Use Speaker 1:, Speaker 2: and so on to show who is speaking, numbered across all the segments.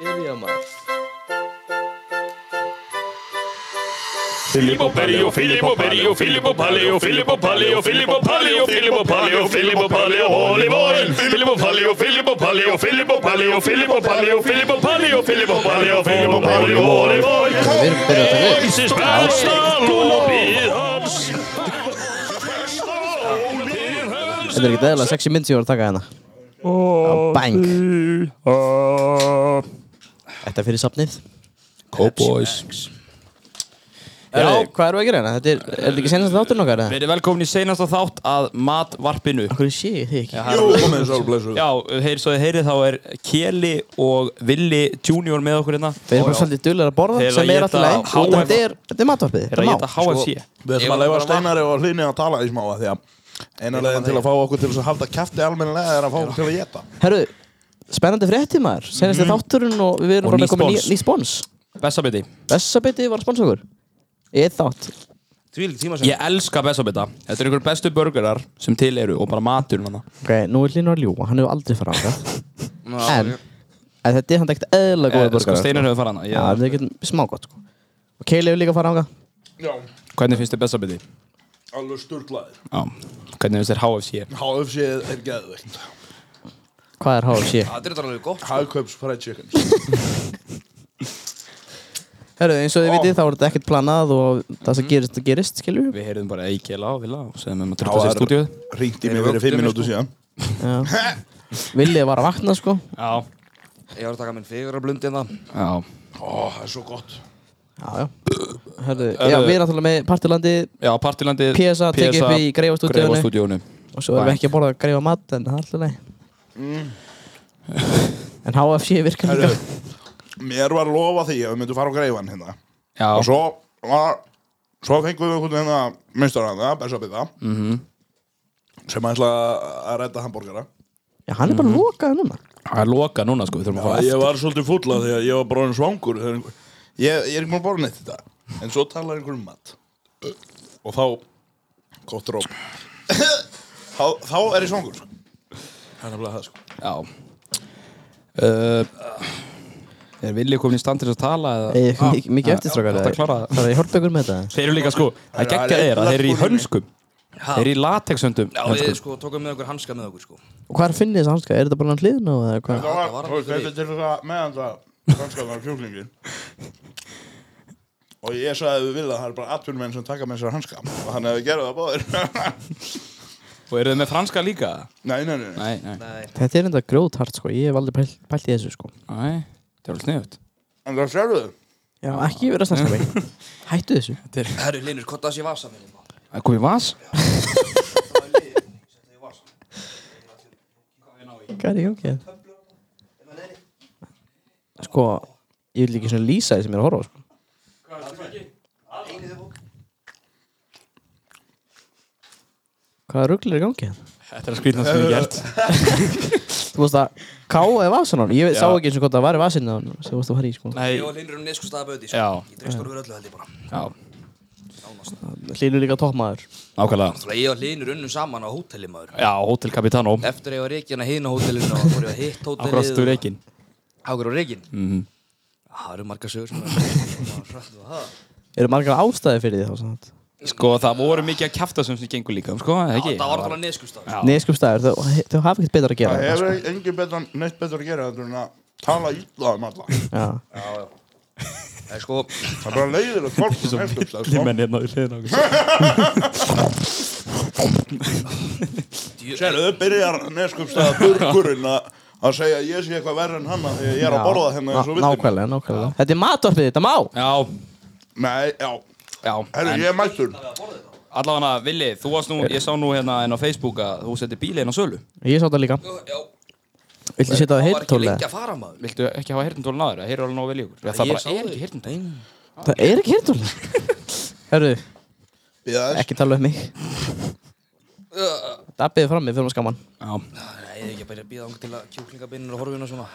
Speaker 1: area 嘛。
Speaker 2: Filippo Paleo, Filippo Paleo, Filippo Paleo, Filippo Paleo, Filippo Paleo, Filippo Paleo, Filippo Paleo, Holy Boy. Filippo Paleo, Filippo Paleo, Filippo Paleo, Filippo Paleo, Filippo Paleo, Filippo Paleo, Filippo Paleo, Holy Boy.
Speaker 1: Við byrjum þetta við.
Speaker 2: Jesus Persson og Bíð Hans.
Speaker 1: Þetta er ekki dæðilega sexy mynd sem ég var að taka hérna. Á Bang. Þetta er fyrir safnið.
Speaker 3: Cowboys
Speaker 1: Já. Hvað erum við að gera hérna? Þetta er, er þetta ekki senast þátturinn okkar eða?
Speaker 4: Við erum velkomin í seinasta þátt að matvarpinu
Speaker 1: Hverju sé ég þig ekki?
Speaker 3: Jú, komið þess að blessu
Speaker 4: Já, heyr, svo þið heyrið þá er Keli og Villi Junior með okkur hérna
Speaker 1: Við erum bara svolítið dullar að borða
Speaker 4: Þeir
Speaker 1: sem
Speaker 4: að
Speaker 1: er
Speaker 4: éta
Speaker 1: alltaf leið.
Speaker 4: HF.
Speaker 1: Þetta er, þetta er matvarpið.
Speaker 4: Þeir að geta
Speaker 1: Þetta er mál. Sko,
Speaker 4: HFC
Speaker 3: Við ætlum að leifa steinar og hlinni að tala í smá að því að eina leiðin til að fá okkur til þess að halda kæfti almennilega er að fá okkur til að geta
Speaker 1: Herru, spennandi fréttið maður. Senast þátturinn og við erum
Speaker 4: Mhm. Og
Speaker 1: bara
Speaker 4: ný
Speaker 1: með komið
Speaker 4: spons.
Speaker 1: ný spons.
Speaker 4: Bessabiti
Speaker 1: Bessabitið var spons okkur. Ég þátt.
Speaker 5: Tvílík tíma sem
Speaker 4: Ég elska Bessabita Þetta eru ykkur bestu burgerar sem til eru og bara matur manna
Speaker 1: Ok, nú er Linur að ljúa, hann hefur aldrei farað ákvæð En, en þetta er hann ekkert eðla góða
Speaker 4: Sko
Speaker 1: borgar
Speaker 4: Steinar hefur farað
Speaker 1: Já,
Speaker 4: hana
Speaker 1: það er ekkert smá gott sko. Og Keili hefur líka farað ákvæð
Speaker 3: Já,
Speaker 4: Hvernig finnst þér Bessabiti?
Speaker 3: alveg sturglaðir
Speaker 4: Já Hvernig finnst þér HFC?
Speaker 3: HFC er geðveikt
Speaker 1: Hvað er HFC?
Speaker 5: Það er þetta alveg gott
Speaker 3: Hagkaups fried chicken
Speaker 1: Herru, eins og þið
Speaker 3: Ó.
Speaker 1: vitið þá er þetta ekkert planað og það sem gerist, það gerist, skilur við
Speaker 4: Við heyrðum bara ei Kela og Villa og segðum um að trötta sér
Speaker 3: Það
Speaker 4: stúdíu
Speaker 3: var ringt í mig fyrir fimm minútu síðan
Speaker 1: Já. Villið var að vakna sko
Speaker 4: Já
Speaker 5: Ég var að taka minn hérna. fegurra blundi en það
Speaker 4: Já
Speaker 3: Ó, það er svo gott
Speaker 1: Já, já Herru, já, við erum náttúrulega með partilandi
Speaker 4: Já, Partilandi
Speaker 1: PSA tekið upp í Greifastúdíóinu.
Speaker 4: Greifastúdíónu
Speaker 1: og svo erum við ekki að borða að greifa mat en það er alltaf leið En HFC virkar líka
Speaker 3: Mér var lofa því að við myndum fara á greifan hérna
Speaker 4: Já
Speaker 3: Og svo var Svo fengum við einhvern veginn hérna að minnstur hann það, besta bita
Speaker 4: Mhm.
Speaker 3: Sem ætla að redda hambúrgara
Speaker 1: Já, hann
Speaker 4: Mhm.
Speaker 1: er bara lokaður núna
Speaker 4: Það er loka núna sko Við þurfum að fá
Speaker 3: Ég var svolítið fúll af því að ég var bara orðinn svangur þegar einhver- Ég, ég er ekki búin að borða neitt þetta En svo talar einhver um mat Og þá Gott róp þá, þá er ég svangur sko. Það er nefnilega það sko
Speaker 4: Já uh, Er Vili komin í stand til þess að tala eða? Ah,
Speaker 1: Eða eitthvað mik- mikið eftirstrákar
Speaker 4: já, þetta kláraði það.
Speaker 1: Það er ég horfa ykkur með þetta
Speaker 4: Þeir eru líka sko Það
Speaker 3: Það er-
Speaker 4: geggja þeir að þeir eru í hönskum
Speaker 5: Ha?
Speaker 4: Þeir eru í latexhöndum
Speaker 5: Já, við
Speaker 4: hönskum.
Speaker 5: sko tókum með okkur hanska með okkur sko
Speaker 1: Og hvað er að finna þess að hanska? Er þetta bara hann hliðin og eða hvað?
Speaker 3: Það
Speaker 5: það var
Speaker 3: var,
Speaker 5: alveg
Speaker 3: þú veist,
Speaker 5: fyrir.
Speaker 3: til þess að meðan það Hanskaðan kjúklingin Og ég sagði við vilja að það er bara atvinnumenn sem taka með sér hanska Og hann hefði gerðið það báðir
Speaker 4: Og eru þið með franska líka?
Speaker 3: Nei, nei, nei, nei.
Speaker 4: Nei, nei,
Speaker 5: Nei
Speaker 1: Þetta er enda grjóthart sko, ég hef aldrei pælt, pælt í þessu sko
Speaker 4: nei. Það er alveg sniðut
Speaker 3: En það sérðu þau
Speaker 1: Já, ekki vera að snakka mig Hættu þessu
Speaker 5: Herru, Linur, hvað það sé vasa minni maður?
Speaker 4: Það er komið vas
Speaker 1: Hvað er ég okkið? Sko, ég vil ekki svona lýsa því sem ég er að horfa á, sko Hvaða ruggl er í gangi hérna?
Speaker 4: Þetta er að skrýtna sem ég gert
Speaker 1: Þú veist að káaði vasan á hann Ég sá ekki eins og hvort það var í vasinu á hann sem þú veist að fara í sko
Speaker 4: Nei,
Speaker 5: Ég og Linur um neskustæða bauti
Speaker 4: Já.
Speaker 5: sko Ég dreist orður öllu held ég bara
Speaker 4: já,
Speaker 5: Nánast
Speaker 1: Hlynur líka toppmaður
Speaker 4: nákvæmlega
Speaker 5: Náttúrulega ég og Linur unnum saman á hóteli maður
Speaker 4: Já, Hotel Capitano
Speaker 5: Eftir að ég var reikinn að hina hótelinu og fór ég að hitt hótelið
Speaker 4: Ákvæmstu reikin
Speaker 5: Hákur á reikinn
Speaker 4: Mhm.
Speaker 5: Það eru margar sögur sko. sem er
Speaker 1: Eru margar ástæði fyrir því þá svona?
Speaker 4: Sko, það voru mikið að kjafta sem sem gengur líka Sko, eða ekki
Speaker 5: Það var alveg neskustæða
Speaker 4: Já.
Speaker 1: Neskupstæður, þau, þau hafa ekkert betra að gera sko.
Speaker 3: Það hefur engin betur, neitt betur að gera heldur en að tala illa um alla Það
Speaker 1: Já
Speaker 5: Það er sko
Speaker 3: er bara leiðilegt fólk sem heldur það sko.
Speaker 4: Limenn hérna í hliðin á okkur
Speaker 5: hérna.
Speaker 3: Sérðu þau byrjar neskupstæða burgurinn að að segja að ég sé eitthvað verri en hanna þegar ég er að borða hérna eins og
Speaker 1: Ná-
Speaker 3: vittin
Speaker 1: Nákvæmlega, nákvæmlega Þetta er matvarpið, þetta má
Speaker 4: Já,
Speaker 3: Nei, já,
Speaker 4: já
Speaker 3: herru
Speaker 4: en-
Speaker 3: ég er mættur
Speaker 4: Allavega, Vili, þú varst nú, ég sá nú hérna en á Facebook að þú setti bílinn á sölu
Speaker 1: Ég sá þetta líka
Speaker 5: Já
Speaker 1: Viltu setja það
Speaker 5: Það var ekki
Speaker 1: heyrtóli?
Speaker 5: lengi að fara maður
Speaker 4: Viltu ekki hafa hirtintólun aður? Það heyrur alveg nóg vel í okkur Það, það
Speaker 5: Ég
Speaker 4: bara
Speaker 5: sá
Speaker 4: er
Speaker 5: þau.
Speaker 4: ekki hirtintólun
Speaker 5: Nei.
Speaker 1: Það er ekki heyrtóli Herru,
Speaker 3: Bíða þess.
Speaker 1: ekki tala um mig Það beðið fram mig fyrir maður skaman
Speaker 4: Já,
Speaker 5: Nei, ég er ekki að byrja að bíða ángur til að kjúklingabinnur og horfinu og svona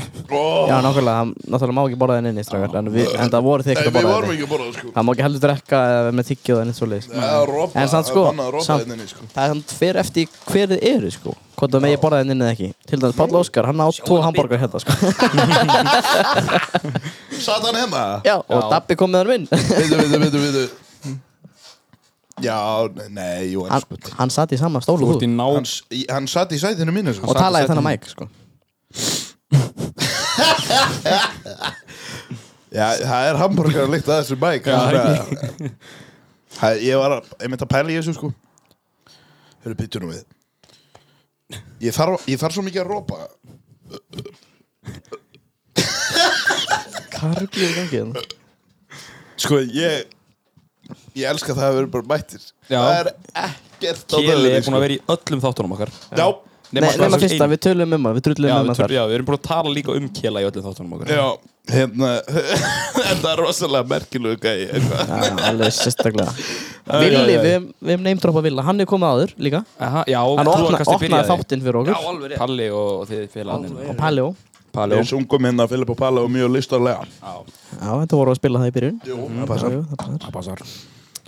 Speaker 1: Já,
Speaker 3: oh,
Speaker 1: nákvæmlega, hann náttúrulega má ekki borða það inni strákar En, við, en það voru þið
Speaker 3: Nei,
Speaker 1: ekkert að
Speaker 3: við
Speaker 1: borða
Speaker 3: vorum
Speaker 1: það inni
Speaker 3: ekki að borða það sko
Speaker 1: Hann má ekki heldur drekka eða með tyggið eða neitt svoleiðis
Speaker 3: Það er ropa,
Speaker 1: En samt sko,
Speaker 3: bannað að ropa
Speaker 1: samt-
Speaker 3: hérna inni, sko.
Speaker 1: Það er hann fyrir eftir hver þið eru sko Hvort það megi borða það inni eða ekki Til dæmis Páll Óskar, hann á tvo hambúrgar hérna sko
Speaker 3: Sat hann heima?
Speaker 1: Já, og Dabbi kom með hann minn
Speaker 3: hérna. Veitu, veitu, veitu, veitu Já, nei, nei, jú, hann
Speaker 1: Hann,
Speaker 3: sko
Speaker 1: hann satt í sama stólu
Speaker 4: Þú ert í ná...
Speaker 3: Hann, hann satt í sæðinu mínu sko.
Speaker 1: og talaði í þennan mæk sko
Speaker 3: Já, það er hamburgar líkt að þessu bæk Það Ég var að, ég myndi að pæla í þessu sko Hörru, býttu nú við Ég þarf, ég þarf svo mikið að ropa
Speaker 1: Kargi í gangi hérna
Speaker 3: Sko, ég Ég elska það að vera bara mættir
Speaker 4: Já.
Speaker 3: Það er ekkert á
Speaker 4: Keli er
Speaker 3: döðinni
Speaker 4: búin að vera í öllum þáttunum okkar
Speaker 3: Já,
Speaker 1: Nei, nema
Speaker 4: þessum
Speaker 1: fyrsta,
Speaker 4: einu.
Speaker 1: við tölum um hann, við
Speaker 4: Já,
Speaker 1: trullum um
Speaker 4: við
Speaker 1: hann
Speaker 4: tölum-
Speaker 1: þar
Speaker 4: já, við erum búin að tala líka um Kela í öllum þáttunum okkar
Speaker 3: já Hérna, þetta er rosalega merkilegu gæi eitthvað.
Speaker 1: Já, alveg sérstaklega Villi, við við hefum neymdroppað Villa, hann er komið áður líka
Speaker 4: Aha, já
Speaker 1: Hann
Speaker 4: þú
Speaker 1: opna,
Speaker 4: kannski
Speaker 1: opnaði
Speaker 4: byrjaði.
Speaker 1: þáttinn fyrir
Speaker 5: Já,
Speaker 1: okkur
Speaker 5: alveg rétt
Speaker 4: Palli og og þið félagarnir
Speaker 1: og Paljó
Speaker 4: Palli
Speaker 3: Við
Speaker 4: og
Speaker 3: sungum hérna Filip og Palla og mjög listarlega
Speaker 1: Já, þetta voru að spila það í byrjun
Speaker 3: Jú,
Speaker 1: Já, jú, það passar.
Speaker 4: Passar.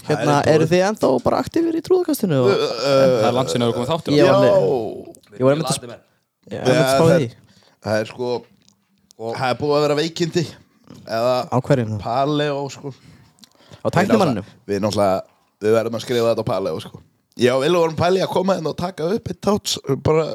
Speaker 1: Hérna, eru þið ennþá bara aktífir í trúðakastinu? og-
Speaker 4: Það er landsinu að við komum í þáttunum
Speaker 1: Já,
Speaker 3: Eh, Já,
Speaker 1: Ég var einmitt að
Speaker 5: Lati menn.
Speaker 1: Já, ég var einmitt að spá
Speaker 3: það-
Speaker 1: því
Speaker 3: það er sko Það er búið að vera veikindi Eða
Speaker 1: Á hverjum það?
Speaker 3: Paleo sko
Speaker 1: Á tæknimanninum?
Speaker 3: Við náttúrulega, við verðum að skrifa þetta á Paleo sko Já, við vorum pæli að koma inn og taka upp eitt táts bara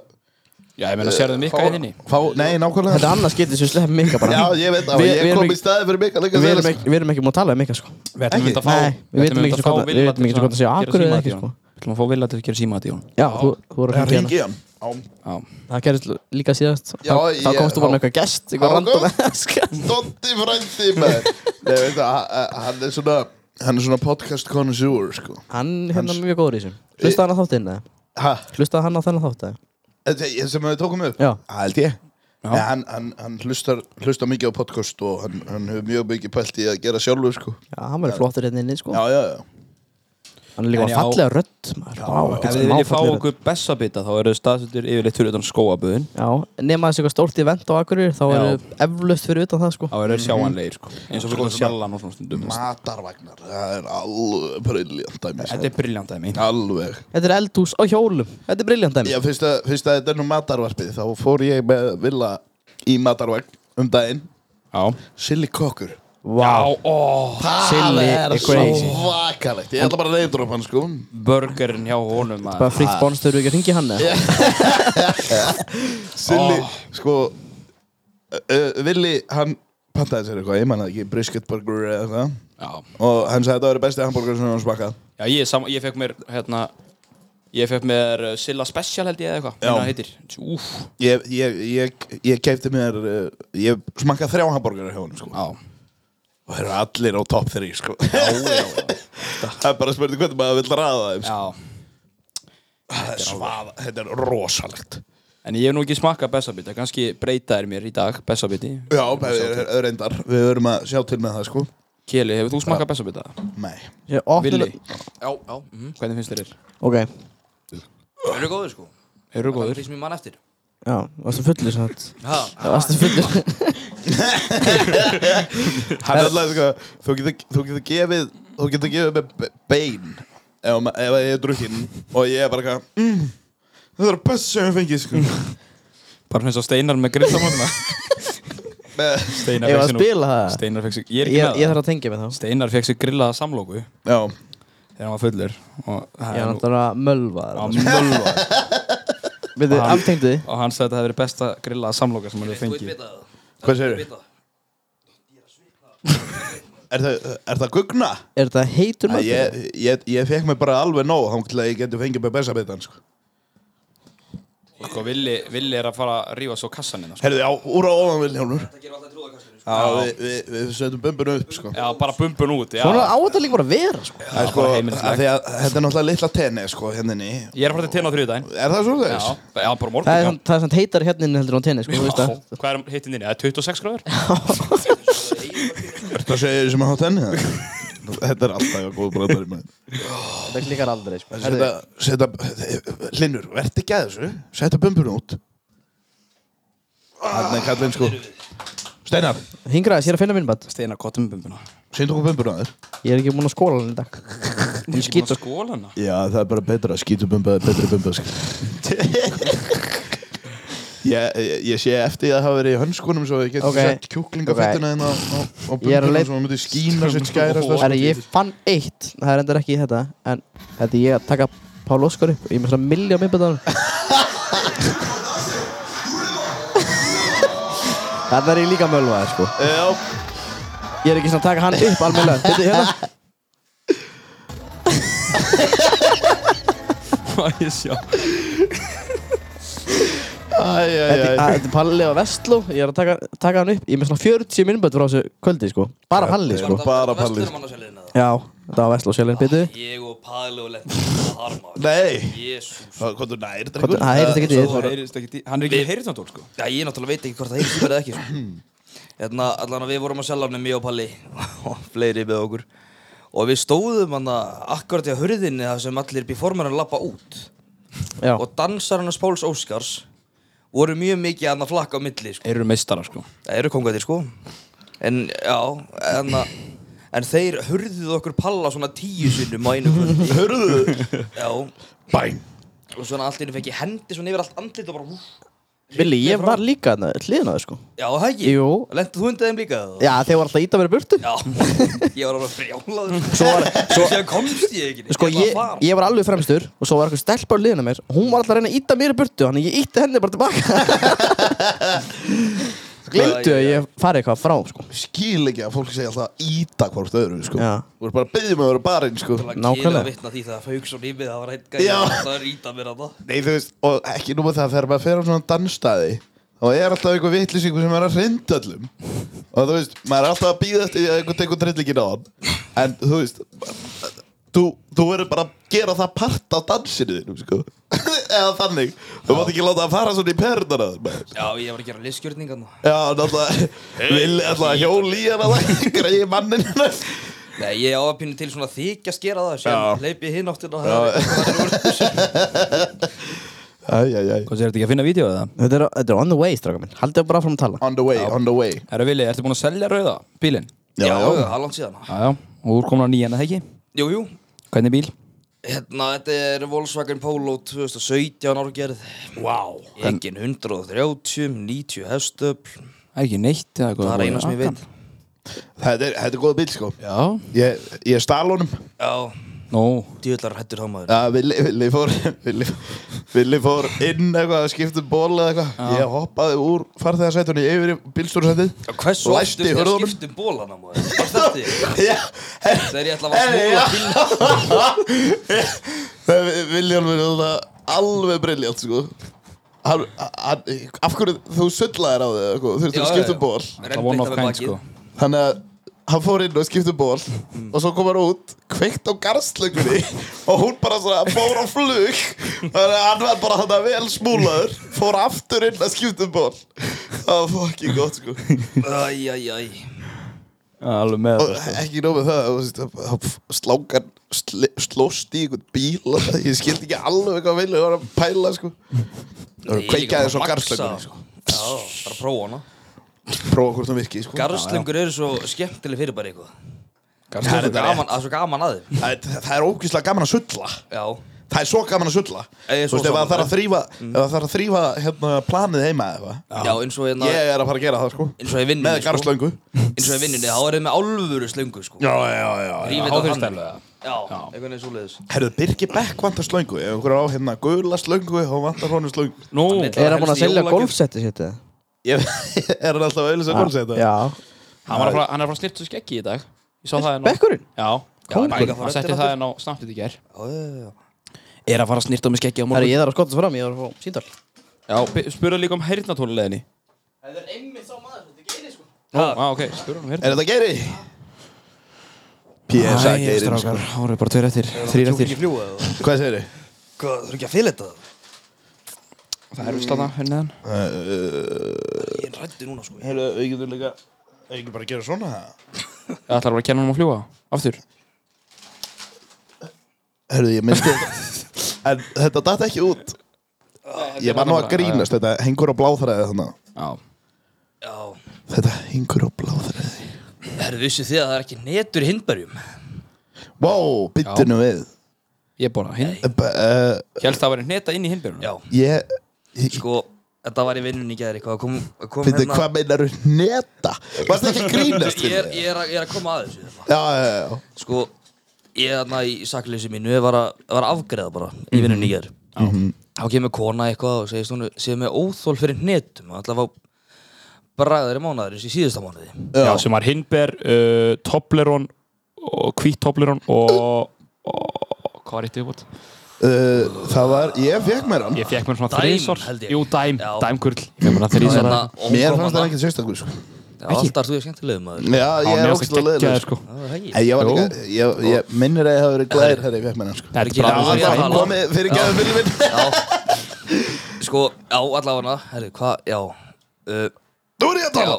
Speaker 4: Já, ég meina, sérðu mikka hérna í þinni
Speaker 3: fá, Nei, nákvæmlega
Speaker 1: Þetta er annars getur sem slepp Mika bara
Speaker 3: Já, ég veit það,
Speaker 1: Við-
Speaker 3: ég
Speaker 1: við erum
Speaker 3: kom í
Speaker 1: ekki-
Speaker 3: staði fyrir Mika líka
Speaker 1: Við
Speaker 3: þegar-
Speaker 1: erum ekki- við erum ekki múið að tala um Mika sko
Speaker 4: Við ætlum
Speaker 3: Ekki?
Speaker 4: mynd að fá
Speaker 1: Nei, við vitum ekki sem hvort-
Speaker 4: ætlum að fá
Speaker 1: við vitum
Speaker 4: Villa
Speaker 1: ekki sem hvort
Speaker 4: til
Speaker 1: það sé
Speaker 4: að
Speaker 1: akkur eða ekki,
Speaker 4: gera símaat í
Speaker 1: sko.
Speaker 4: honum. Við ætlum að fá Villa til að gera símat í hún
Speaker 1: Já, þú þú voru að
Speaker 3: Það
Speaker 1: hringja hana
Speaker 3: ringi hann Á
Speaker 1: Það gerist líka síðast
Speaker 3: Já,
Speaker 1: Þá þá
Speaker 3: ég-
Speaker 1: komstu bara með
Speaker 3: já.
Speaker 1: eitthvað gest Eitthvað
Speaker 3: Já,
Speaker 1: random Sko.
Speaker 3: já.
Speaker 1: enska.
Speaker 3: Dotti frændi maður Nei, veit það, a- a- hann er svona Hann er svona podcast connoisseur sko
Speaker 1: Hann hérna mjög góður í þessum Hlustaði hann á þáttinn eða?
Speaker 3: Hæ?
Speaker 1: Hlustaði hann á þennan þátt eða?
Speaker 3: Þetta ég- sem við tókum upp?
Speaker 1: Já.
Speaker 3: Hældi ég Nei, hann, hann, hann hlustar, hlustar mikið á podcast og hann, hann hefur mjög mikið pælt í að gera sjálfur sko.
Speaker 1: Já, hann verður flottur hérna inni sko
Speaker 3: Já, já, já
Speaker 1: Hann er líka
Speaker 4: En já.
Speaker 1: fallega rödd maður. Vá,
Speaker 4: Ef
Speaker 1: ekkert smá
Speaker 4: þið viljið fá
Speaker 1: fallega rödd.
Speaker 4: okkur bessabita þá eru staðsettur yfirleitt fyrir utan skóaböðin
Speaker 1: Já, nema þessi eitthvað stórt event á Akureyri Þá
Speaker 4: Já.
Speaker 1: eru eflaust fyrir utan það sko
Speaker 4: þá eru sjáanlegir sko eins og fyrir sjallan og svona stundum
Speaker 3: Matarvagnar, það er alveg briljant dæmi sko.
Speaker 4: Þetta er briljant aðeins mín
Speaker 3: Alveg
Speaker 1: Þetta er eldhús á hjólum Þetta er briljant dæmi
Speaker 3: Já, fyrst að, fyrst að þetta er nú matarvarpið þá fór ég með Villa í matarvagn um daginn
Speaker 4: Já
Speaker 3: Silly kokkur
Speaker 1: Vá,
Speaker 4: ó
Speaker 1: Silly er crazy
Speaker 3: Svakalegt, ég ætla bara að reyndra upp hann sko
Speaker 4: Burgerinn hjá honum
Speaker 1: Bara
Speaker 4: maður.
Speaker 1: fritt bónus þau eru ekki að ringi hann eða?
Speaker 3: Silly,
Speaker 4: Oh.
Speaker 3: sko uh, Villi, hann pantaði sér eitthvað, ég manna ekki, brisket burger eða eitthvað
Speaker 4: Já
Speaker 3: og hann sagði þetta var besti hambúrgar sem hann smakað
Speaker 4: Já, ég, sam, ég fekk mér, hérna Ég fekk mér uh, Silla Special held ég eða eitthvað
Speaker 3: Já.
Speaker 4: Hérna heitir Úf
Speaker 3: ég, ég, ég, ég keipti mér uh, ég smakað þrjá hambúrgar hjá honum sko.
Speaker 4: Já
Speaker 3: og þeir eru allir á topp þrý sko. það er bara að spurning hvernig maður vil ræða þeim sko.
Speaker 4: Já
Speaker 3: það er svað, þetta er rosalegt
Speaker 4: En ég hef nú ekki smakað Bessabita Kanski breyta þér mér í dag Bessabiti
Speaker 3: já, er, reyndar, við verum að sjá til með það sko.
Speaker 4: Keli, hefur þú smakað Bessabita?
Speaker 3: nei,
Speaker 1: Ég opna-
Speaker 4: Villi,
Speaker 5: Já, já mhm.
Speaker 4: hvernig finnst þér þér?
Speaker 1: Ok,
Speaker 5: Þeir eru góður sko
Speaker 4: Eru
Speaker 5: Það er
Speaker 4: góður?
Speaker 5: því sem ég mann eftir
Speaker 1: já, varstu fullir sann
Speaker 5: Ha,
Speaker 1: Varstu fullir
Speaker 3: hann er alltaf sko, þú getur, þú getur gefið þú getur gefið með be- bein ef, ma- ef ég er drukkin og ég er bara eitthvað, mm, þetta er best sem ég fengið sko.
Speaker 4: Bara finnst á steinar með grillamóðina
Speaker 3: með,
Speaker 4: Steinar
Speaker 1: Ég var að
Speaker 4: fékk sér nú-
Speaker 1: spila það
Speaker 4: Steinar fekk sér, ég er ekki
Speaker 1: Ég, ég
Speaker 4: með það
Speaker 1: þarf að tengja mig þá
Speaker 4: Steinar fekk sér grillaða samlóku
Speaker 3: já
Speaker 4: Þegar hann var fullur Og
Speaker 1: Ég
Speaker 4: það er
Speaker 1: er
Speaker 4: nú
Speaker 1: náttúrulega mölvaður
Speaker 4: að mölva
Speaker 1: Við þið aftengdu því
Speaker 4: Og hann sagði að þetta hefði verið besta grillaða samlóka sem hann hefur
Speaker 5: Þú veit
Speaker 4: fengið
Speaker 5: bita það
Speaker 3: Hvað segirðu?
Speaker 5: Þú veit bita það.
Speaker 3: Er það, er það gugna?
Speaker 1: Er þetta
Speaker 3: Æ,
Speaker 1: heitur matur?
Speaker 3: ég, ég, ég fekk mig bara alveg nóg þá til að ég geti fengið með besta bitan sko.
Speaker 4: Sko, Villi, Villi er að fara að rífa svo kassanina sko.
Speaker 3: Herðu, já, úr á ofan vil hjálmur
Speaker 5: Það gerir alltaf trúðakastinu sko.
Speaker 3: Já, við, við, við setjum bumbun upp sko.
Speaker 4: Já, bara bumbun út já.
Speaker 1: Svona á þetta líka bara að vera sko.
Speaker 3: Það er sko,
Speaker 4: bara heimilislegt.
Speaker 3: að því að þetta er náttúrulega litla tenni sko, henninni
Speaker 4: Ég er að fara til tenni á þriðdæn
Speaker 3: Er það svo
Speaker 4: Já,
Speaker 3: þess?
Speaker 4: já, bara morgun
Speaker 1: Það er
Speaker 4: já.
Speaker 1: samt- það er samt heitar hérna inni heldur en á tenni sko, þú veist það.
Speaker 4: Já, Hvað er hittin þinni? Það er 26 gráður?
Speaker 3: Það segir sem að hafa tenni það Þetta er alltaf eitthvað góð bröðar í maður
Speaker 1: Þetta klikkar aldrei sko.
Speaker 3: Setja, setja, Linur, verð ekki að þessu Setja bumbun út Þannig kallinn sko Steinar,
Speaker 1: Hingraðis, ég er að finna minn bætt
Speaker 6: Steinar kottumbumbuna
Speaker 3: sýndu okkur bumbuna þér
Speaker 1: Ég er ekki múin að skóla hann í dag
Speaker 6: Hún skýta skólana
Speaker 3: Já, það er bara betra, skýtu bumba er betri bumba sko. ég, ég, ég sé eftir því að það hafa verið í hönskunum svo ég geti
Speaker 1: Ok.
Speaker 3: sett kjúklingafettina okay. á, á, á
Speaker 1: Ég er að
Speaker 3: bumbuna
Speaker 1: leit-
Speaker 3: svo hann myndi skína sitt skærast
Speaker 1: Það ég fann eitt Það er endur ekki í þetta En þetta er ég að taka Pál Óskar upp Ég er með svona milli á minnbættanum Þetta er ég líka mölvaði sko
Speaker 3: Já,
Speaker 1: Ég er ekki svona að taka hann upp almennilega Þetta er hérna
Speaker 6: Má ég sjá
Speaker 3: æj, æj,
Speaker 1: Þetta er-
Speaker 3: æj
Speaker 1: að- þetta er Palli á Vestló Ég er að taka, taka hann upp Ég er með svona 40 minnbætt frá þessu kvöldi sko Bara Palli
Speaker 5: um
Speaker 1: sko
Speaker 3: bara Palli.
Speaker 5: palli
Speaker 1: Já Þetta var Vestló sjálfinn byttu
Speaker 5: Ég og Palli og Lenni Harma
Speaker 3: Nei,
Speaker 5: Jésús
Speaker 3: hvað hvað þú nær,
Speaker 1: Hvað-
Speaker 3: drengur
Speaker 1: Það heyrist ekki
Speaker 5: Svo-
Speaker 1: til
Speaker 6: Það heyrist ekki í- Hann er ekki með heyrðandól sko
Speaker 5: Já, ég náttúrulega veit ekki hvort það heyrst verið ekki sko. Hérna, allan að við vorum að selja hann mjög palli og fleiri með okkur og við stóðum hann akkurat í að hurðinni þar sem allir performerar lappa út
Speaker 1: Já
Speaker 5: og dansararnas Páls Óskars voru mjög mikið hann að flakka á milli sko.
Speaker 6: Þeir eru meistarar sko
Speaker 5: Það eru kongaðir sko en já, en, en þeir hurðuðu okkur palla svona tíu sinnum á einu kvöldi
Speaker 3: Hörðu,
Speaker 5: Já, og
Speaker 3: bæn
Speaker 5: svona allt í einu fekk ég hendi svona yfir allt andlit og bara hú.
Speaker 1: Vili, ég var líka hérna Hliðin á þér sko
Speaker 5: Já, það ekki?
Speaker 1: Jú.
Speaker 5: Lenti þú undir þeim líka? eða?
Speaker 1: Já, þeir voru alltaf að íta mér í burtu
Speaker 5: Já, ég var alveg frjálaður Svo var Svo Þegar komst ég ekki
Speaker 1: Sko ég, ég var alveg fremstur og svo var eitthvað stelpa á liðinu mér og hún var alltaf að reyna að íta mér í burtu þannig ég ítti henni bara tilbaka Glemdu að ég fari eitthvað frá sko.
Speaker 3: Skil ekki að fólk segja alltaf íta hvort öðru, sko
Speaker 1: Já.
Speaker 3: Þú er bara að byggja með að vera barinn, sko
Speaker 1: nákvæmlega.
Speaker 5: Nákvæmlega Ég vittna því þegar Fauks og Nýmið Það var einn gæði
Speaker 3: Já.
Speaker 5: Það er íta mér að það
Speaker 3: Nei, þú veist, og ekki nú með það, þegar maður fer á svona dansstaði og er alltaf einhver vitlýsingur sem er að hrinda öllum og þú veist, maður er alltaf að býða eftir því að einhver tekur trillingin á hann en þú veist þú, þú verður bara að gera það part af dansinu þínum, sko eða þannig, þú mátt ekki láta það fara svona í perðan að maður
Speaker 5: Já, ég var að gera listgjörningan
Speaker 3: Já, náttúrulega, villi alltaf að hjóli í hana það, greiði mannin
Speaker 5: Nei, ég á að pínu til svona þykja skera það
Speaker 3: Já.
Speaker 5: sem leipi hinn áttina það er eitthvað úr þessu.
Speaker 3: Æj, æj, æj
Speaker 6: Hvað er þetta ekki að finna vídeo eða?
Speaker 1: þetta, er, þetta er on the way, stráka minn Haldið bara fram að tala
Speaker 3: On the way, on the way
Speaker 6: Herra Vili, ertu búin að selja rauða bílinn?
Speaker 5: Já,
Speaker 3: Já,
Speaker 5: já,
Speaker 3: já,
Speaker 5: halvand síðan
Speaker 6: Já, já, og úr komin á nýjan að það ekki
Speaker 5: Jú, jú
Speaker 6: Hvernig bíl?
Speaker 5: Hérna, þetta er Volkswagen Polo 2017 árgerð Vá Engin 130, 90 hestöfl
Speaker 6: Það er ekki neitt eða eitthvað
Speaker 5: Það er eina sem ég veit
Speaker 3: þetta er, þetta er góð bíl, sko
Speaker 6: Já,
Speaker 3: Ég, ég stal honum
Speaker 5: Já,
Speaker 6: nú,
Speaker 5: djöðlar hættur þá maður
Speaker 3: Já, Villi, Villi, fór, Villi, Villi fór inn eitthvað að skipta um ból eða eitthvað Ég hoppaði úr farþegarsætunni yfir í bílstúrsætið
Speaker 5: Já, Hversu oft
Speaker 3: Læsti
Speaker 5: er það
Speaker 3: hurðunum.
Speaker 5: skiptum bólana maður? Varst þetta þig?
Speaker 3: Já,
Speaker 5: Þegar ég ætla að smóla bíl
Speaker 3: það er Villi alveg þetta alveg briljant sko hann, hann, Af hverju þú sullaðir á þig eða eitthvað, þú
Speaker 5: Já,
Speaker 3: þurftum að
Speaker 5: já,
Speaker 3: skipta
Speaker 5: já.
Speaker 3: um ból
Speaker 5: Rennbleyta
Speaker 6: það var
Speaker 5: með
Speaker 6: of kind
Speaker 5: bakið.
Speaker 6: sko
Speaker 3: Þannig að hann fór inn og skipti um ból og svo kom hann út, kveikt á garslökunni og hún bara svona fór á flug þannig að hann var bara hann að vel smúlaður fór aftur inn að skipta um ból það var fucking gott sko
Speaker 5: Æj, æj, æj
Speaker 6: Já, Alveg með
Speaker 3: og
Speaker 6: þetta sko.
Speaker 3: ekki nómið það þú veist, þá- þá slákan sli- slóst í einhvern bíl og það, ég skildi ekki alveg hvað vilja var að pæla sko
Speaker 5: Ég er líka
Speaker 3: kveikjaði
Speaker 5: bara
Speaker 3: svo
Speaker 5: að baksa.
Speaker 3: garslökunni sko.
Speaker 5: Já, bara að prófa hana
Speaker 3: prófa hvort hún virki sko.
Speaker 5: Garslöngur eru svo skemmtileg fyrir bara eitthvað Það er
Speaker 6: Garðslöku
Speaker 5: svo gaman, það er svo gaman að þeim
Speaker 3: það, er- það er ógeðslega gaman að sulla
Speaker 5: Já,
Speaker 3: Það er svo gaman að sulla
Speaker 5: Ég
Speaker 3: Þú
Speaker 5: er svo
Speaker 3: veist, ef það þarf
Speaker 5: sammála. Mm.
Speaker 3: að þrýfa Ef það þarf að þrýfa hérna, planið heima eða
Speaker 5: já, eins og hérna
Speaker 3: eitthvað Ég er að fara að gera það sko
Speaker 5: Eins og í vinnunni
Speaker 3: Með garðslöngu
Speaker 5: Eins og í vinnunni, þá er þið með alvöru slöngu sko
Speaker 3: Já, já, já, já.
Speaker 5: Rífið þetta
Speaker 6: Háþrýstælu
Speaker 5: þannig.
Speaker 6: eða?
Speaker 5: Já, einhvern veginn svoleiðis
Speaker 3: Herðu, Birgi Beck vantar slöngu Ef einhver á hérna gula slöngu Þá vantar honum slöngu
Speaker 6: Nú,
Speaker 5: Hann vill-
Speaker 6: hann
Speaker 1: Er hann búin að
Speaker 5: helst í
Speaker 1: selja
Speaker 5: jólagjöf.
Speaker 1: golfsetti sitt eða?
Speaker 3: Ég er hann alltaf að auðvitað
Speaker 6: Ah.
Speaker 3: að góls þetta
Speaker 1: Já
Speaker 6: var að fara- hann er frá sliptu skeggi í dag Ég sá það hérna
Speaker 1: Bekkurinn?
Speaker 6: Já, já
Speaker 1: Kóngur.
Speaker 6: hann hann setti það hérna á snappið í ger
Speaker 5: Já, já, já
Speaker 6: Er að fara að snýrta með skeggi á
Speaker 1: Það er
Speaker 6: morgun
Speaker 1: ég þar að skotast fram, ég þarf að fá síndal
Speaker 6: Já, bi- spurðu líka um heyrnatónuleginni Það er einmitt sá maður, þetta er geiri sko Já, ok, spurðu um
Speaker 3: Er þetta geiri? PSA geiri sko.
Speaker 6: strákar, voru bara tveir eftir, þrýr
Speaker 5: Þú
Speaker 6: eftir
Speaker 5: ekki fljúa það
Speaker 3: Hvað segir þið?
Speaker 5: Hvað, þú ekki að fylita það?
Speaker 6: Það er visslána hérna
Speaker 5: Ég er rættu núna sko
Speaker 3: Herðu, við getum líka Ég ekki bara að gera svona
Speaker 6: Það ætlar bara að kenna hann að fljúa, aftur
Speaker 3: Herðu, ég minnstu En þetta datt ekki út Ég var nú að grínast Þetta hengur á bláþræði þannig
Speaker 6: Já
Speaker 5: Já,
Speaker 3: Þetta hingur á bláþræði
Speaker 5: herðu vissu þið að það er ekki netur í hindberjum
Speaker 3: Vá, byttu nú við
Speaker 6: Ég bóna hinn
Speaker 3: B- eh,
Speaker 6: Hjálst það að vera neta inn í hinnbjörnum
Speaker 5: Já,
Speaker 3: Ég
Speaker 5: sko, þetta var í vinnunni í gæðir eitthvað kom, kom
Speaker 3: Fyndi, hvað meinar þú neta? Varst ekki að grínast
Speaker 5: Hérna. ég,
Speaker 3: til
Speaker 5: er,
Speaker 3: þig?
Speaker 5: ég, er að, ég er að koma að þessu hérna.
Speaker 3: Já, já, já
Speaker 5: Sko, ég þarna í sakleysi mínu ég var að, var að afgreða bara
Speaker 3: Mhm.
Speaker 5: í vinnunni í gæðir Þá kemur kona eitthvað og segist hún séð með óþól fyrir netum allavega bragðar í mánuðarins í síðusta mánuði
Speaker 2: Já, sem var Hindber, uh, Toblerón og Hvít Toblerón og, og hvað var eitt yfirbútt?
Speaker 3: Uh, Það var, ég fekk mér hann
Speaker 2: Ég fekk mér svona
Speaker 5: Dæm,
Speaker 2: þrísor
Speaker 5: held ég.
Speaker 2: Jú, dæm,
Speaker 5: Já.
Speaker 2: dæmkurl Ég meina þrísor
Speaker 5: Hérna,
Speaker 2: Já,
Speaker 5: og hún
Speaker 3: Mér
Speaker 5: kom
Speaker 3: fannst það
Speaker 5: þarna-
Speaker 3: ekkert sérstakur sko.
Speaker 5: Já, Alltaf þú er skemmtilegum maður
Speaker 3: Já, ég er
Speaker 2: mér
Speaker 3: ógst
Speaker 2: finnst
Speaker 3: að
Speaker 2: það
Speaker 3: leiða
Speaker 2: geggjaður sko
Speaker 3: Ég var líka, ég, ég minnir að ég hafi verið glæðir þegar ég fekk mér hann sko.
Speaker 2: Þetta er
Speaker 5: Ekki
Speaker 2: bara
Speaker 5: Já,
Speaker 3: Það
Speaker 5: ég
Speaker 3: var
Speaker 5: tala.
Speaker 3: hann komið fyrir gæðum viljum minn
Speaker 5: Sko, já, allavega Herri, hvað, já uh,
Speaker 3: Nú er ég að
Speaker 5: Já,
Speaker 3: tala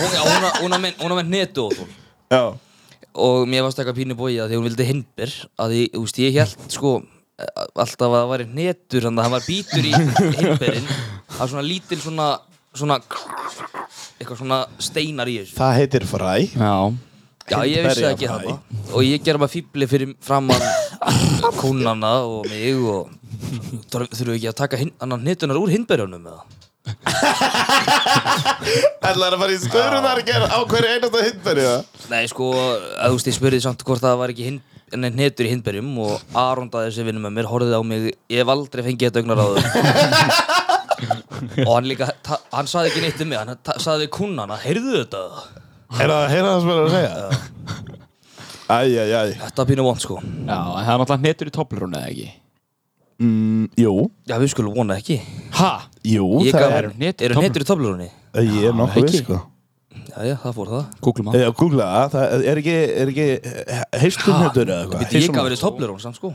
Speaker 5: hún, já, hún, hún, hún, hún var með netu og þú
Speaker 3: Já,
Speaker 5: og mér varst eitthvað pínu bóið að því hún vildi hinder að því, þú veist, ég held sko eh, alltaf að það væri hnetur þannig að það var bítur í hinberinn það var svona lítil svona, svona eitthvað svona steinar í þessu
Speaker 3: það heitir fræ
Speaker 6: Já
Speaker 5: já, ég vissi það ekki það og ég gerði maður fýbli fyrir framann kúnana og mig og þurfum þurfum við ekki að taka hin, annan hnetunar úr hinberjónum með það
Speaker 3: Ætlaður að fara í stöðrunarger á hverju einasta hindberi það
Speaker 5: nei, sko, að, þú veist, ég spurði samt hvort það var ekki hin, nei, hnetur í hinberjum og Arondaði sem vinnum með mér horfði á mig ég hef aldrei fengið þetta augnar á og hann líka, ta- hann saði ekki neitt um mig hann ta- saði við kunnana, heyrðu þetta
Speaker 3: Er það að heyra það sem er að segja? Æ, æ, æ
Speaker 5: þetta er pínu vond sko
Speaker 6: Já, en það er náttúrulega netur í Toblerón eða ekki
Speaker 3: Mm, Jú,
Speaker 5: já, við skulum vona ekki
Speaker 6: Ha?
Speaker 3: jú,
Speaker 5: ég
Speaker 3: það
Speaker 5: gaf,
Speaker 3: er
Speaker 5: eru
Speaker 6: hnetur í
Speaker 5: hnetur, í töflurunni
Speaker 3: Ég er nokkuð við
Speaker 6: ekki.
Speaker 3: sko
Speaker 5: já, já, það fór það
Speaker 6: Googlum hann
Speaker 3: Eða googla það, það er ekki, er ekki heistunhetur eða eitthvað
Speaker 5: Ah, ég gaf verið töflurun samt sko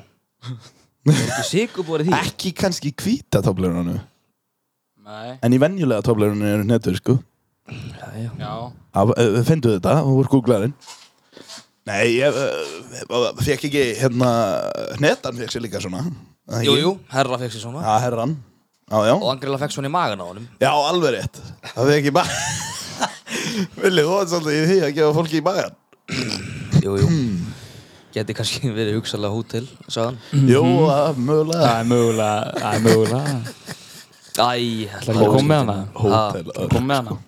Speaker 5: ég er ekki sigur búið því
Speaker 3: Ekki kannski hvíta tobleronu
Speaker 6: Nei
Speaker 3: En í venjulega tobleronu eru netur sko eh,
Speaker 5: já, já.
Speaker 6: Já
Speaker 3: Fyndu þetta, hún voru googlarinn Nei, ég eh, uh, fekk ekki hérna Netan fekk sér líka svona eða ekki?
Speaker 5: jú, jú, herra fekk sér svona
Speaker 3: Já, herran Já, já
Speaker 5: og Angrela fekk svona í magan á honum
Speaker 3: Já, alveg rétt. Það er ekki bara... Villi, þú er svolítið í því að gefa fólki í magan.
Speaker 5: jú, jú
Speaker 6: Hmm.
Speaker 5: geti kannski verið hugsalega hótel sagðan
Speaker 3: Jú, það er mögulega.
Speaker 6: Það er mögulega Það er mögulega
Speaker 5: Æ,
Speaker 6: Það er ekki að koma með hana
Speaker 3: Hótel.
Speaker 6: Það er koma með hana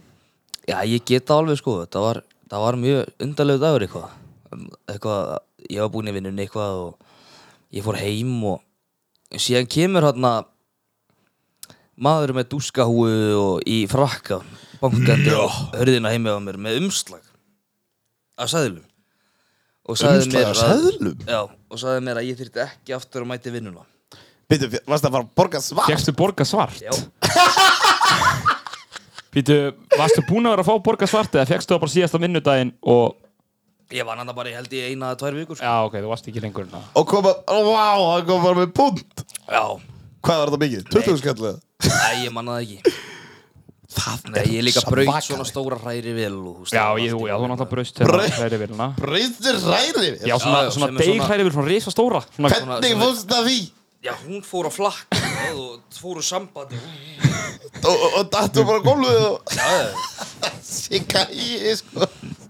Speaker 5: Já, ég get það alveg sko, þetta var, það var mjög undarlegu dagur eitthvað. Eitthvað, ég var búinn í vinnunni eitthvað og ég fór heim og síðan kemur hérna maður með dúskahúu og í frakka bankandi á hörðina heimi á mér með umslag af sæðlum. Og sagði
Speaker 3: Umslag
Speaker 5: mér
Speaker 3: af
Speaker 5: að-
Speaker 3: seðlum?
Speaker 5: Já, og sagði mér að ég þyrfti ekki aftur að mæti vinnuna.
Speaker 3: Býttu, varst að fara að borga svart?
Speaker 2: Fjekkstu borga svart?
Speaker 5: Já,
Speaker 2: Býtu, varstu búin að vera að fá borga svart eða fjekkstu það bara síðasta vinnudaginn og
Speaker 5: ég var hann bara, ég held ég eina að tvær vikur. sko.
Speaker 2: Já, ok, þú varst ekki lengur en það
Speaker 3: Og koma, ó, vá, það kom bara með punt.
Speaker 5: Já,
Speaker 3: Hvað var þetta mikið? 20 skallið?
Speaker 5: Æ, ég manna það ekki
Speaker 3: Það
Speaker 5: Nei, ég líka braut svona stóra hræri vel og, húst,
Speaker 2: Já, ég, þú, já, þú náttúrulega braust
Speaker 3: Braut-
Speaker 2: hérna hræri vilna
Speaker 3: Breytir ræðir.
Speaker 2: Já, svona, svona
Speaker 5: já, sem er
Speaker 2: deig
Speaker 5: svona-
Speaker 2: hræri vil, svona risa stóra svona,
Speaker 3: Hvernig fórst það því?
Speaker 5: Já, hún fór á flakk og þú fór úr sambandi
Speaker 3: Og- Og og dattu bara góluðið og
Speaker 5: Já,
Speaker 3: sikka í, sko.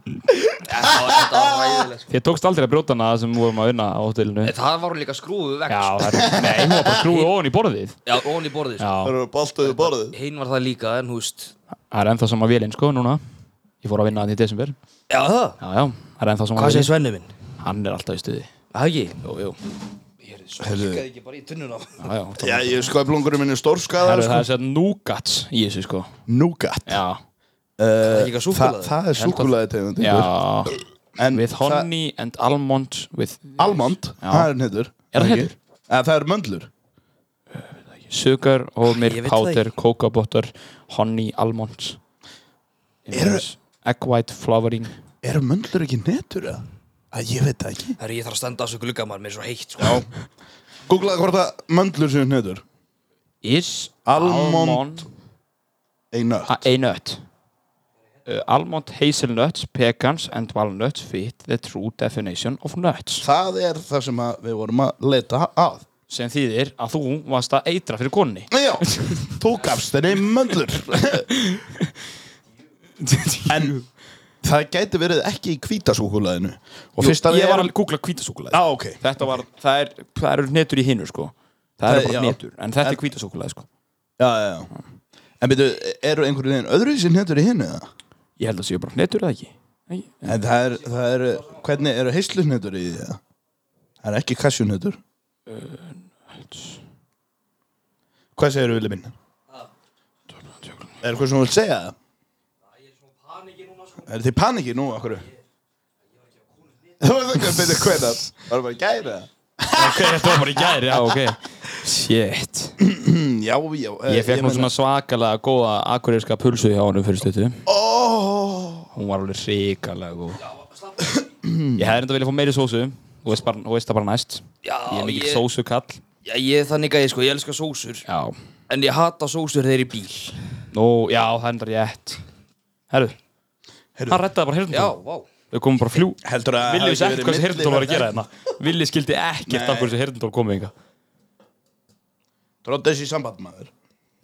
Speaker 5: þetta var- þetta var hræðilegt sko.
Speaker 2: Þér tókst aldrei að brjóta hana sem við vorum að vinna á hótelinu Já,
Speaker 5: Það var hún líka skrúðu vekk sko.
Speaker 2: það er, nei, hún var bara skrúið ofan í borðið
Speaker 5: Já, ón í borðið sko.
Speaker 2: Já,
Speaker 3: Það eru boltuðu borðið.
Speaker 5: Hinn var það líka, en húst
Speaker 2: það er ennþá sama vélinn, sko, núna Ég fór að vinna hann í desember Já,
Speaker 5: Já, það
Speaker 2: já, það er ennþá sama
Speaker 5: Hvað segir
Speaker 2: vélinn
Speaker 5: Svenni minn?
Speaker 2: Hann er alltaf í stuði Já,
Speaker 5: Það ekki?
Speaker 2: Jú, jú,
Speaker 5: Ég svolítið ekki bara í tunnuna
Speaker 2: já, já
Speaker 3: Já, ég skoði blungurinn minni
Speaker 2: Herru,
Speaker 3: stórskaðar,
Speaker 2: það
Speaker 3: sko.
Speaker 2: er sér núgats í þessu sko
Speaker 3: Nougat.
Speaker 2: Já,
Speaker 3: Það
Speaker 5: ekki eitthvað súkkulaði?
Speaker 3: Það er súkulaði tegund.
Speaker 2: já
Speaker 3: En
Speaker 2: With
Speaker 3: það-
Speaker 2: honey and almond with
Speaker 3: Almond, það er netur
Speaker 2: Er það hnetur?
Speaker 3: Eða Eh, það eru möndlur
Speaker 2: sugar,
Speaker 5: Ég
Speaker 2: homemade
Speaker 5: veit það
Speaker 2: powder, cocoa butter honey, almond
Speaker 3: Eru-
Speaker 2: egg white, flowering
Speaker 3: Eru möndlur ekki netur eða? Að ég veit það ekki
Speaker 5: Herru, ég þarf að standa á þessu glugga maður, mér er svo heitt sko. Já
Speaker 3: Googlaði hvort að möndlur séu netur
Speaker 2: is
Speaker 3: Almond.
Speaker 2: almond
Speaker 3: Einu
Speaker 2: a, a nut uh, almond, hazelnuts, pecans and walnuts fit the true definition of nuts
Speaker 3: Það er það sem að við vorum að leta að
Speaker 2: sem þýðir að þú varst að eitra fyrir konni
Speaker 3: Já, þú gafst henni möndlur En það gæti verið ekki í hvítasúkulæðinu Og
Speaker 4: Jú,
Speaker 3: fyrst að
Speaker 4: ég
Speaker 3: við
Speaker 4: var
Speaker 3: erum
Speaker 4: að googla hvítasúkulæði
Speaker 3: Já, ok
Speaker 4: Þetta var, það, er, það eru hnetur í hinu sko Það
Speaker 3: Það-
Speaker 4: eru bara
Speaker 3: já.
Speaker 4: hnetur, en þetta er hvítasúkulæði sko
Speaker 3: Já, já, já En byrju, eru einhverju liðin öðru sem hendur í hinu eða?
Speaker 4: Ég held að séu bara hnetur eða ekki Nei,
Speaker 3: En það er, það er, hvernig eru heislusnötur í því það? Það er ekki kassjunötur Hvað segir þú, Vili minn? Er eitthvað sem þú vilt segja það? Er þið paniki nú, okkur? Þú veist ekki að byrja hvernig Var bara gæra
Speaker 4: Ok, þetta var bara í gæri, já ok Shit
Speaker 3: Já, já
Speaker 4: Mm, Ég fekk nú svona svakalega góða akureyska pulsu hjá honum fyrir stötu
Speaker 3: oh,
Speaker 4: Hún var alveg ríkalega góð Ég hefði enda viljað fá meiri sósu Þú veist, bara, þú veist það bara næst
Speaker 5: Já,
Speaker 4: Ég er mikill
Speaker 5: ég-
Speaker 4: sósukall
Speaker 5: Já, ég er þannig að ég sko, ég elska sósur
Speaker 4: Já
Speaker 5: En ég hata sósur þegar ég er í bíl
Speaker 4: Nú, já, það er enda rétt Herru Hann rettaði bara
Speaker 5: Já,
Speaker 4: heyrnum
Speaker 5: vá
Speaker 4: Þau komum bara fljú
Speaker 3: Heldur að
Speaker 4: Villi
Speaker 3: hafi
Speaker 4: vissi
Speaker 3: ekki verið
Speaker 4: ekkert hvað þessi heyrndól var að
Speaker 3: millivert-
Speaker 4: gera hérna Villi skildi ekkert af hverju þessi heyrndól komið hinga
Speaker 3: Dróta þessi samband maður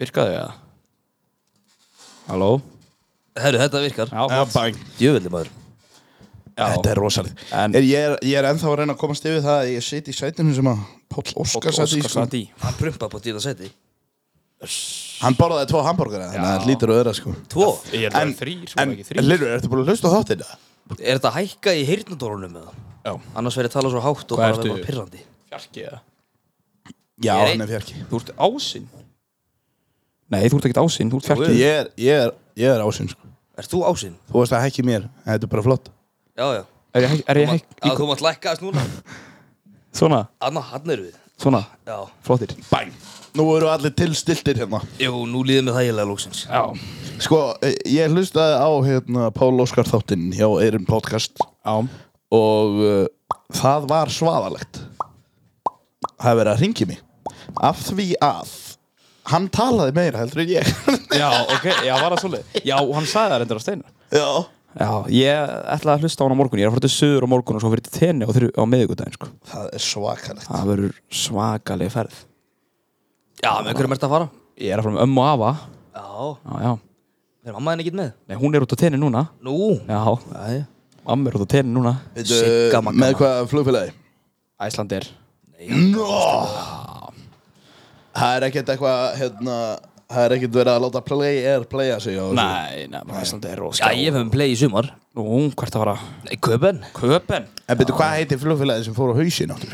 Speaker 4: Virkaði það? Halló?
Speaker 5: Herru, þetta virkar
Speaker 4: Já, gott.
Speaker 3: bang
Speaker 5: Djöfveldi maður
Speaker 3: Þetta
Speaker 4: já
Speaker 3: er rosalegt
Speaker 4: En-
Speaker 3: er, ég, er, ég er ennþá að reyna að komast yfir það að ég sit í sætinu sem að Páll Óskar satt í
Speaker 4: Óskar
Speaker 3: sko.
Speaker 4: satt í
Speaker 5: Hann prumpa på dýta seti
Speaker 3: Hann borðaði tvo hambúrgara þannig að hann lítur öðra sko
Speaker 5: Tvo
Speaker 4: Ég er það þrýr, sko
Speaker 3: en
Speaker 4: ekki þrýr
Speaker 3: Lirur, ertu búin að hlusta á þáttina?
Speaker 5: Er þetta að hækka í heyrnadólunum eða?
Speaker 4: Já.
Speaker 5: Annars verður ég að tala svo hátt
Speaker 4: Hvað
Speaker 5: og bara
Speaker 4: ertu?
Speaker 5: verður bara pirrandi
Speaker 4: Fjarki eða?
Speaker 3: Já,
Speaker 5: Ég er
Speaker 3: hann er fjarki
Speaker 4: Þú ert ásinn? Nei, þú ert ekkert ásinn, þú ert fjarki
Speaker 3: Ég er, ég er, ég er ásyn sko
Speaker 5: Ert þú ásinn?
Speaker 3: Þú varst að hækki mér, en þetta er bara flott
Speaker 5: Já, já
Speaker 4: Er ég, hæ- er ég hæ,
Speaker 5: Að þú mátt lækka þess núna
Speaker 4: Svona,
Speaker 5: Anna, hann er við
Speaker 4: svona,
Speaker 5: Já
Speaker 4: flottir
Speaker 3: Bang Nú eru allir tilstiltir hérna
Speaker 5: Jú, nú líður mér þægilega lóksins
Speaker 4: Já,
Speaker 3: Sko, eh, ég hlustaði á hérna Pál Óskar þáttinn hjá Eirin Podcast
Speaker 4: já
Speaker 3: og uh, það var svaðalegt það er verið að ringi mig af því að hann talaði meira heldur en ég
Speaker 4: Já, ok, já, var það svolítið Já, hann sagði það reyndur á steinu
Speaker 3: já,
Speaker 4: Já, ég ætla að hlusta á hann á morgun Ég er að fara til söður á morgun og svo fyrir til tenni á, þrjú- á miðvikudaginn, sko
Speaker 3: það er svakalegt
Speaker 4: Það verður svakalega ferð
Speaker 5: Já, með hverjum ert að fara?
Speaker 4: Ég er að fara með ömmu og afa
Speaker 5: Já,
Speaker 4: Já, já
Speaker 5: er mamma henni ekki með?
Speaker 4: Nei, hún er út á tenni núna
Speaker 5: Nú
Speaker 4: Já, mamma er út á tenni núna
Speaker 3: Veitu,
Speaker 5: Sigga Magga.
Speaker 3: með hvað flugfélagi
Speaker 4: Æslandir
Speaker 3: það er ekkert eitthvað hérna, það er ekkert verið að láta play air playa sig á þessu.
Speaker 4: Nei, nei, Æslandir er
Speaker 5: Já,
Speaker 4: óskar
Speaker 5: ég fæm play í sumar
Speaker 4: Nú, hvert að fara
Speaker 5: Nei, Köpen
Speaker 4: Köpen
Speaker 3: en betur hvað heitir flugfélagi sem fór á hausin áttur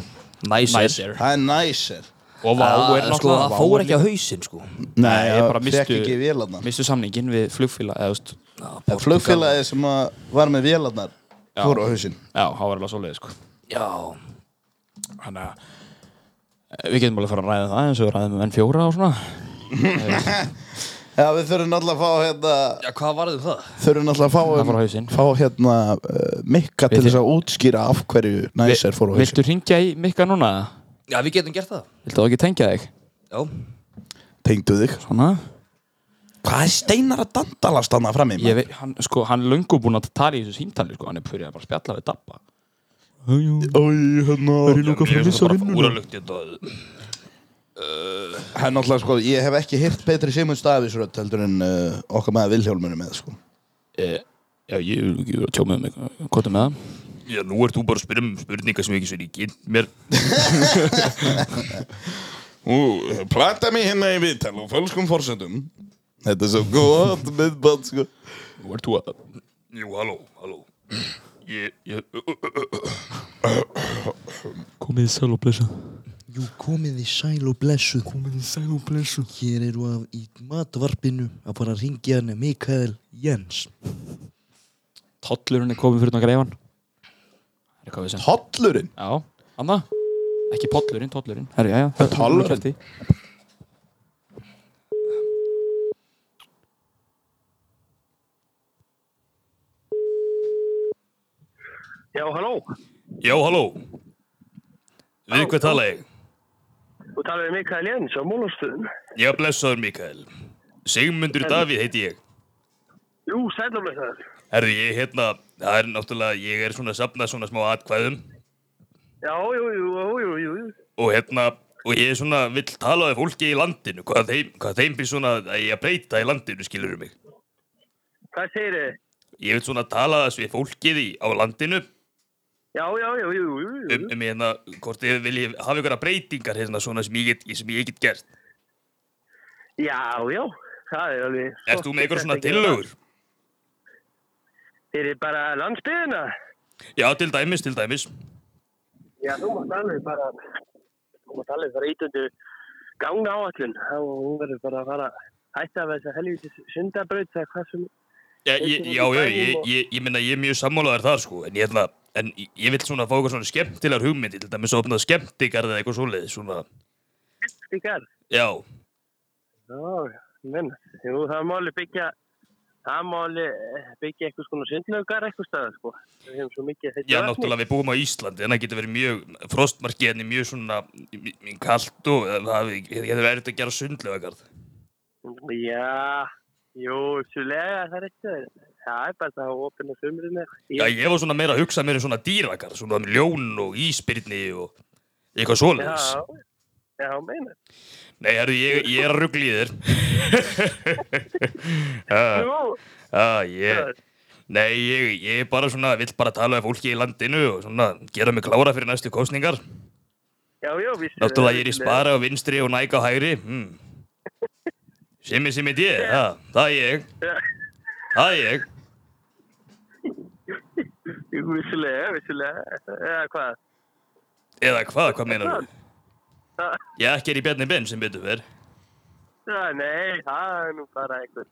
Speaker 5: Næsir
Speaker 3: það er næsir
Speaker 4: Og Vá er
Speaker 5: Það
Speaker 4: náttúrulega
Speaker 5: sko, það
Speaker 4: Vá
Speaker 5: fór
Speaker 4: er hérna.
Speaker 5: ekki á hausinn sko
Speaker 4: Nei, ég bara
Speaker 3: fekk
Speaker 4: mistu-
Speaker 3: ekki vélarnar
Speaker 4: Mistu samningin við flugfélag eða, þú veist
Speaker 3: En flugfélagi sem að var með vélarnar fór á hausin
Speaker 4: Já, það var alveg svolítið, sko
Speaker 5: Já,
Speaker 4: Þannig að eh, Við getum alveg að fara að ræða það eins og við ræðum N4 og svona
Speaker 3: já, við þurfum náttúrulega að fá hérna
Speaker 5: já, hvað
Speaker 2: um
Speaker 5: varðu það?
Speaker 3: þurfum náttúrulega að
Speaker 4: Það fór á
Speaker 3: fá, um,
Speaker 4: hausinn.
Speaker 3: fá hérna uh, mikka til
Speaker 4: Viltu-
Speaker 3: þess að útskýra af hverju næsir fór á hausinn
Speaker 4: Viltu ringja í Mikka núna?
Speaker 5: Já, við getum gert það
Speaker 4: Viltu þá ekki tengja þig?
Speaker 5: Já,
Speaker 3: tengdu þig
Speaker 4: Svona
Speaker 3: hvað er steinar að dandalast hann fram í
Speaker 4: Ég veit, hann, sko, hann er löngu búinn að tala í þessu símtali, sko, hann er fyrir að bara spjalla við Dabba.
Speaker 3: Æ, hérna
Speaker 5: ég er bara úralugt í þetta
Speaker 3: hann náttúrulega sko ég hef ekki hirt Petri Simon Stafísrödd heldur en uh, okkar maður Vilhjálmur er með sko
Speaker 4: Já, ég vil ekki vera að tjóma um mig, hvað er með það?
Speaker 2: Já, nú ert þú bara að spyrja um spurningar sem ekki sér í kynnt mér
Speaker 3: Ú, plata mig hérna í viðtal og fölskum fórsendum þetta er svo gott miðband sko
Speaker 4: Nú ert þú að...
Speaker 2: Jú, halló, halló Ég, ég,
Speaker 4: Komið í sæl og blessa.
Speaker 7: Jú, komið þið sæl og blessuð. Komið þið sæl og blessuð. Hér eru að í matvarpinu að fara að ringja hann Mikael Jens.
Speaker 4: Tollurinn er komið fyrir nokkar eifan. Er eitthvað við sem...
Speaker 3: Hollurinn
Speaker 4: Já, Anna? Ekki pollurinn, tollurinn. Herru, já, já.
Speaker 3: Tollurinn?
Speaker 4: Kjafti.
Speaker 8: Já, halló,
Speaker 2: já, halló Við hvað tala ég?
Speaker 8: þú talar við Mikael Jens á Múlastöðum.
Speaker 2: Já, blessaður Mikael Sigmundur Davíð heiti ég
Speaker 8: Jú, sælublessaður.
Speaker 2: Herðu, ég hérna, það er náttúrulega, ég er svona að safna svona smá atkvæðum
Speaker 8: Já, jú, jú, jú, jú, jú, jú.
Speaker 2: og hérna, og ég er svona, vill tala við fólki í landinu, hvað þeim, hvað þeim byrð svona að ég að breyta í landinu, skilur mig.
Speaker 8: Hvað segir þið?
Speaker 2: Ég vil svona tala þessu við fólkið í, á landinu
Speaker 8: Já, já, já, jú, jú, jú, jú.
Speaker 2: um, um hérna, hvort þið viljið hafa ykkur breytingar hérna svona sem ég get, sem ég get gert.
Speaker 8: Já, já, það er alveg...
Speaker 2: Ert þú með ykkur svona
Speaker 8: Þetta ekki-
Speaker 2: tillögur?
Speaker 8: Fyrir bara landsbyðina?
Speaker 2: Já, til dæmis, til dæmis.
Speaker 8: Já, þú mátt alveg bara... Þú mátt alveg fara ítundu gangna áallun. Þá hún verður bara að fara hætta af þessa helvítis sundabraut eða hvað sem...
Speaker 2: Já, ég, já, já, ég, ég, ég minna, ég er mjög sammálaður þar, sko, en ég ætla, en ég- ég vil svona fá eitthvað svona skemmtilegar hugmyndi, til dæmis að opna skemmtigarð eða eitthvað svoleiðis, svona,
Speaker 8: Stíkar.
Speaker 2: já,
Speaker 8: Já, menn. Jú, það má alveg byggja... Það má alveg eh, byggja eitthvað svona sundlaugar eitthvað staðar, sko. Við hefum svo mikið... heitt
Speaker 2: já,
Speaker 8: vatni.
Speaker 2: náttúrulega við búum á Íslandi, en það getur verið mjög, frostmarkið hérna er mjög svona, m- m- kalt og eh, það getur verið að gera sundlaugarð.
Speaker 8: Já, jú, suðlega það er eitthvað. Það er bara það að opna sumrinu.
Speaker 2: Já, ég var svona meira að hugsa meira um svona dýragarð, svona með ljón og ísbyrni og eitthvað
Speaker 8: Já,
Speaker 2: svoleiðis.
Speaker 8: já, meina.
Speaker 2: Nei, herru, ég, ég er að ruggla í þér. Já,
Speaker 8: Nú,
Speaker 2: já, ég... Nei, ég, ég bara svona, vill bara tala um fólki í landinu og svona gera mig klára fyrir næstu kostningar.
Speaker 8: já, já, vissi.
Speaker 2: Náttúrulega ég er í spara og vinstri og næka hægri. Hmm. Simmi, simmi, djé, það, það er ég, það er ég.
Speaker 8: Jú, vissulega, vissulega. Eða hvað?
Speaker 2: Eða hvað, hvað meinar þú?
Speaker 8: Það-
Speaker 2: Já, ekki er í Bjarni Ben sem betur verð.
Speaker 8: Já, nei, það er nú bara eitthvað.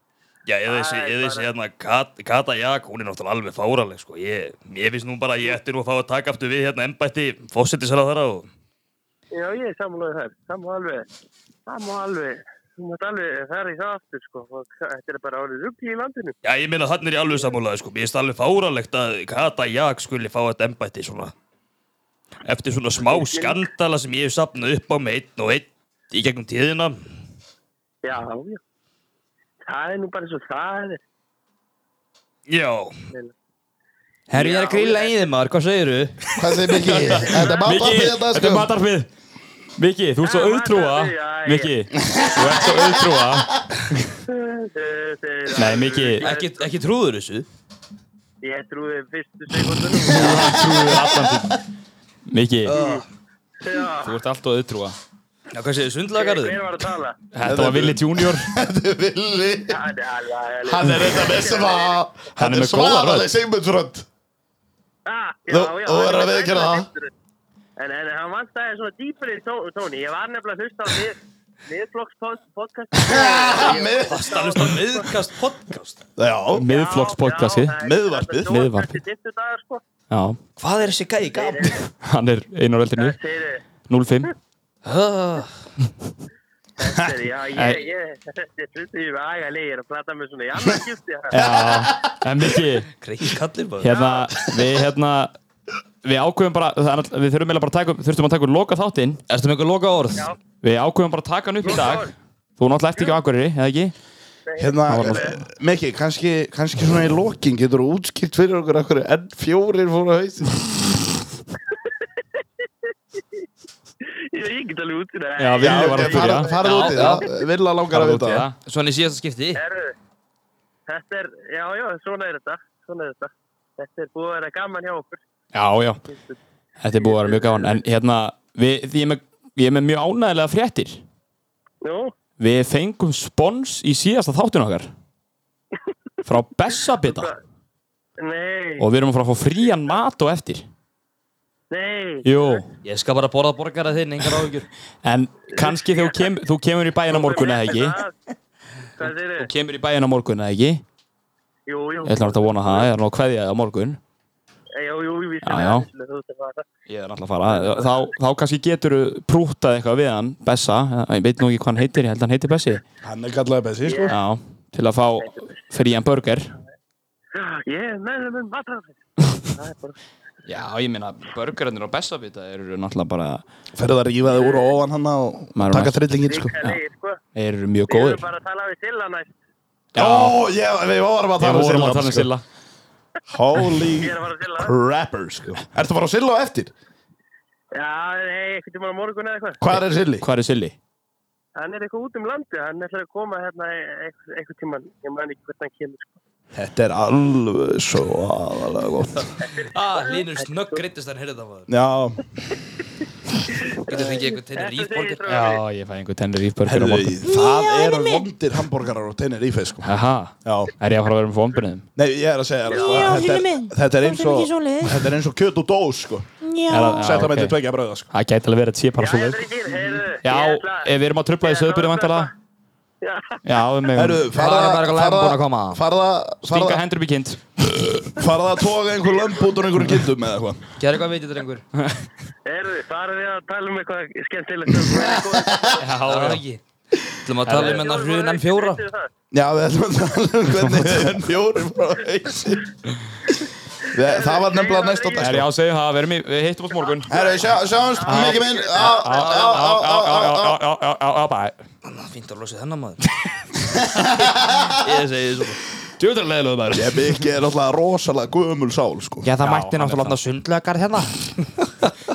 Speaker 2: Já, eða þessi,
Speaker 8: Æ,
Speaker 2: eða þessi
Speaker 8: bara-
Speaker 2: hérna Kat, Kata Jak, hún er náttúrulega alveg fáraleg, sko. Ég, ég finnst nú bara að ég ætti nú að fá að taka aftur við hérna embætti fósittisara þara og...
Speaker 8: Já, ég er sammálaðið þar. Það má alveg, það má alveg. Þú mátt alveg fara í það aftur, sko. og Þetta er bara orðið ruggi í landinu.
Speaker 2: Já, ég meina hann er í alveg sammálaði, sko. Mér finnst alveg fáralegt að Kata Jak skuli fá þetta embætti svona... Eftir svona smá skandala sem ég hef sapnað upp á með einn og einn í gegnum tíðina.
Speaker 8: Já, já. Það er nú bara svo það er.
Speaker 2: Já,
Speaker 5: Herri, ég er að grilla í þið maður, hvað segir þú?
Speaker 3: Hvað segir Miki? Þetta er
Speaker 4: Miki,
Speaker 3: matarpið þetta
Speaker 4: þetta er
Speaker 3: sko
Speaker 4: matarfið Miki, þú ert svo
Speaker 8: Ah,
Speaker 4: auðtrúa
Speaker 8: matarfið, já, já.
Speaker 4: Miki, þú ert svo auðtrúa Nei, Miki,
Speaker 5: Ekki, ekki trúður þessu?
Speaker 8: Ég trúi fyrstu sekundunum.
Speaker 4: trúðu allan tíma Miki,
Speaker 8: Já.
Speaker 4: þú ert alltaf auðtrúa
Speaker 5: Já, hvað segir
Speaker 8: Hver
Speaker 5: sundlagarðin?
Speaker 8: var að tala?
Speaker 4: Þetta var Willi Junior
Speaker 3: Þetta er villi
Speaker 8: Það er alveg...
Speaker 3: Hann er þetta með svá
Speaker 4: Hann er
Speaker 3: Hann er
Speaker 4: með góða rödd.
Speaker 3: svaraleg Sigmundsrönd
Speaker 8: Ah, já,
Speaker 3: Þú-
Speaker 8: já,
Speaker 3: þú verður að
Speaker 8: hann
Speaker 3: viðurkenna það.
Speaker 8: vantaði- En, en hann vantæði svona dýpri tó- tóni. Ég var nefnilega að hlusta á mið, miðflokkspodcast.
Speaker 5: Fast að hlusta á miðkast podcast
Speaker 3: Já
Speaker 4: Miðflokkspodcasti
Speaker 3: Miðvarpið.
Speaker 4: Miðvarpið.
Speaker 8: Miðvarpið.
Speaker 4: Já,
Speaker 5: Hvað er þessi gæi gaf?
Speaker 4: hann er einar eldinu
Speaker 8: Það segir
Speaker 4: 05
Speaker 8: þið. Þetta er, já, ég, ég, ég hluti yfir agalegir að prata með svona í annar skipti.
Speaker 4: Já, en Miki,
Speaker 5: Kreiki kallir maður
Speaker 4: hérna, við hérna Við ákveðum bara, það er náttúrulega- við þurfum eiginlega bara að taka, þurftum að taka loka þáttinn
Speaker 5: Erstu með eitthvað loka orð?
Speaker 8: Já.
Speaker 4: Við ákveðum bara að taka hann upp í dag Þú náttúrulega ert ekki á Akureyri, eða ekki?
Speaker 3: Hérna, Miki, kannski, kannski svona í lokin getur þú útskipt fyrir okkur okkur enn fjórir fóru að hausin
Speaker 8: Ég, ég get alveg út í það.
Speaker 4: Já, Villi var að spyrja
Speaker 3: Farðu út í það, Villa langar að
Speaker 4: Farðu út
Speaker 3: vita
Speaker 4: í
Speaker 3: það
Speaker 4: það.
Speaker 5: Svona í síðasta skipti
Speaker 8: Herru, þetta er, já, já, svona er þetta. Svona er þetta. Þetta er búið að vera gaman hjá okkur.
Speaker 4: Já, já, þetta er búið að vera mjög gaman En hérna, við, því ég er með, ég er með mjög ánægilega fréttir
Speaker 8: Nú,
Speaker 4: Við fengum spons í síðasta þáttun okkar Frá Bessabita
Speaker 8: nei,
Speaker 4: Og við erum að fara að fá frían mat og eftir
Speaker 8: nei.
Speaker 4: Jú,
Speaker 5: Ég skal bara borða borgara þinn, engar áhugjur
Speaker 4: en kannski þegar þú kem, þú kemur í bæina morgun eða ekki
Speaker 8: Hvað þeir
Speaker 4: Þú kemur í bæina morgun eða ekki Ég
Speaker 8: Jú, jú.
Speaker 4: ætla náttúrulega að vona það, ég er nú að kveðja þig á morgun
Speaker 8: Jú, jú, jú, við
Speaker 4: Já, já.
Speaker 8: Þú veist að fara.
Speaker 4: Ég er alltaf að fara, þá, þá kannski getur þú prútað eitthvað við hann, Bessa Ég veit nú ekki hvað hann heitir, ég held að hann heitir Bessi
Speaker 3: Hann er kallaðið Bessi, sko
Speaker 4: Já, til að fá frían burger
Speaker 8: Ég er með þeim um matrafið. Það er bara,
Speaker 4: Já, ég meina, burgerinnir á Bessabita eru náttúrulega bara,
Speaker 3: Ferðu að rífa þig úr og ofan hann og
Speaker 4: Maður
Speaker 3: taka
Speaker 4: mætt.
Speaker 3: trillingin, sko
Speaker 8: líka leið, sko.
Speaker 4: þeir eru mjög
Speaker 8: Við erum
Speaker 4: góðir
Speaker 8: bara að tala við Silla næst.
Speaker 4: Já,
Speaker 3: Ó, ég, við vorum að
Speaker 4: við
Speaker 3: tala um
Speaker 4: vorum
Speaker 3: Silla,
Speaker 4: að tala um
Speaker 3: sko.
Speaker 4: Silla
Speaker 3: Holy
Speaker 8: Ég er að fara að Silla.
Speaker 3: crapper, sko Ertu að fara á Silla á eftir?
Speaker 8: Já, nei, ekkert um á morgun eða eitthvað.
Speaker 3: Hvað er Silli?
Speaker 4: Hvað er Silli?
Speaker 8: e- Hann er eitthvað út um landi. Hann ætlar að koma hérna e- einhver einhver tíman. Ég man ekki hvernig hann kemur, sko.
Speaker 3: Þetta er alveg svo aðalega gott
Speaker 5: Ah, Linur snögg grittist en heyrði það maður
Speaker 3: Já,
Speaker 5: Getur fengið einhvern tennir rífborgir
Speaker 4: Já, ég fæ einhver tennir íbörgur á
Speaker 3: herru,
Speaker 4: morgun
Speaker 3: það eru vondir hambúrgarar og tennir ífæð sko
Speaker 4: Aha,
Speaker 3: Já,
Speaker 4: er ég að fara að vera með fómbunniðum?
Speaker 3: nei, ég er að segja þér, sko,
Speaker 9: Já,
Speaker 3: þetta
Speaker 9: Hilli
Speaker 3: er-
Speaker 9: minn.
Speaker 3: Þetta er eins
Speaker 9: Komdu
Speaker 3: og
Speaker 9: ekki svoleiðis.
Speaker 3: Þetta er eins og kjöt og dós sko
Speaker 9: Já,
Speaker 3: Sett það með til
Speaker 4: ok.
Speaker 3: tvekja bröða sko
Speaker 4: Það gæti alveg verið að sé bara svo leið
Speaker 8: drengir, heyrðu,
Speaker 4: Já,
Speaker 8: ég ætla-
Speaker 4: eh, við erum að trubla í
Speaker 8: Ég ætla
Speaker 4: söðbyrðu
Speaker 8: að
Speaker 4: vantala Já,
Speaker 3: Herru,
Speaker 4: við megum
Speaker 3: farða
Speaker 5: Það er bara
Speaker 3: farða-
Speaker 5: læm búin að koma
Speaker 3: Farða
Speaker 4: Stinga
Speaker 3: Farða
Speaker 4: hendur upp í kind
Speaker 3: farða að toga einhver lömb út úr einhverjum kindum eða eitthvað
Speaker 5: Gerðu eitthvað veitir drengur
Speaker 8: Heyrðu, farið við að tala um eitthvað skemmtilegt um Reykjavík.
Speaker 5: Það er ekki Þú ætlum að tala um hennar hrunan fjóra
Speaker 3: Já, við ætlum að tala um hvernig en fjóri frá hausin Það var nefnilega næst á dag
Speaker 4: Er
Speaker 3: sko.
Speaker 4: ég á að segja það, við erum í, við hittum oss morgun
Speaker 3: Herru, sjá- sjáumst, mikið minn Á, á, á, á, á, á, á
Speaker 4: Djúðar
Speaker 5: Fynd að losa þennan maður Ég segi svona
Speaker 4: leðilegðu maður
Speaker 3: Ég mikið er náttúrulega rosalega gömul sál sko.
Speaker 5: Já, það
Speaker 4: Já,
Speaker 5: mætti
Speaker 4: hann er
Speaker 5: náttúrulega sundlökar hérna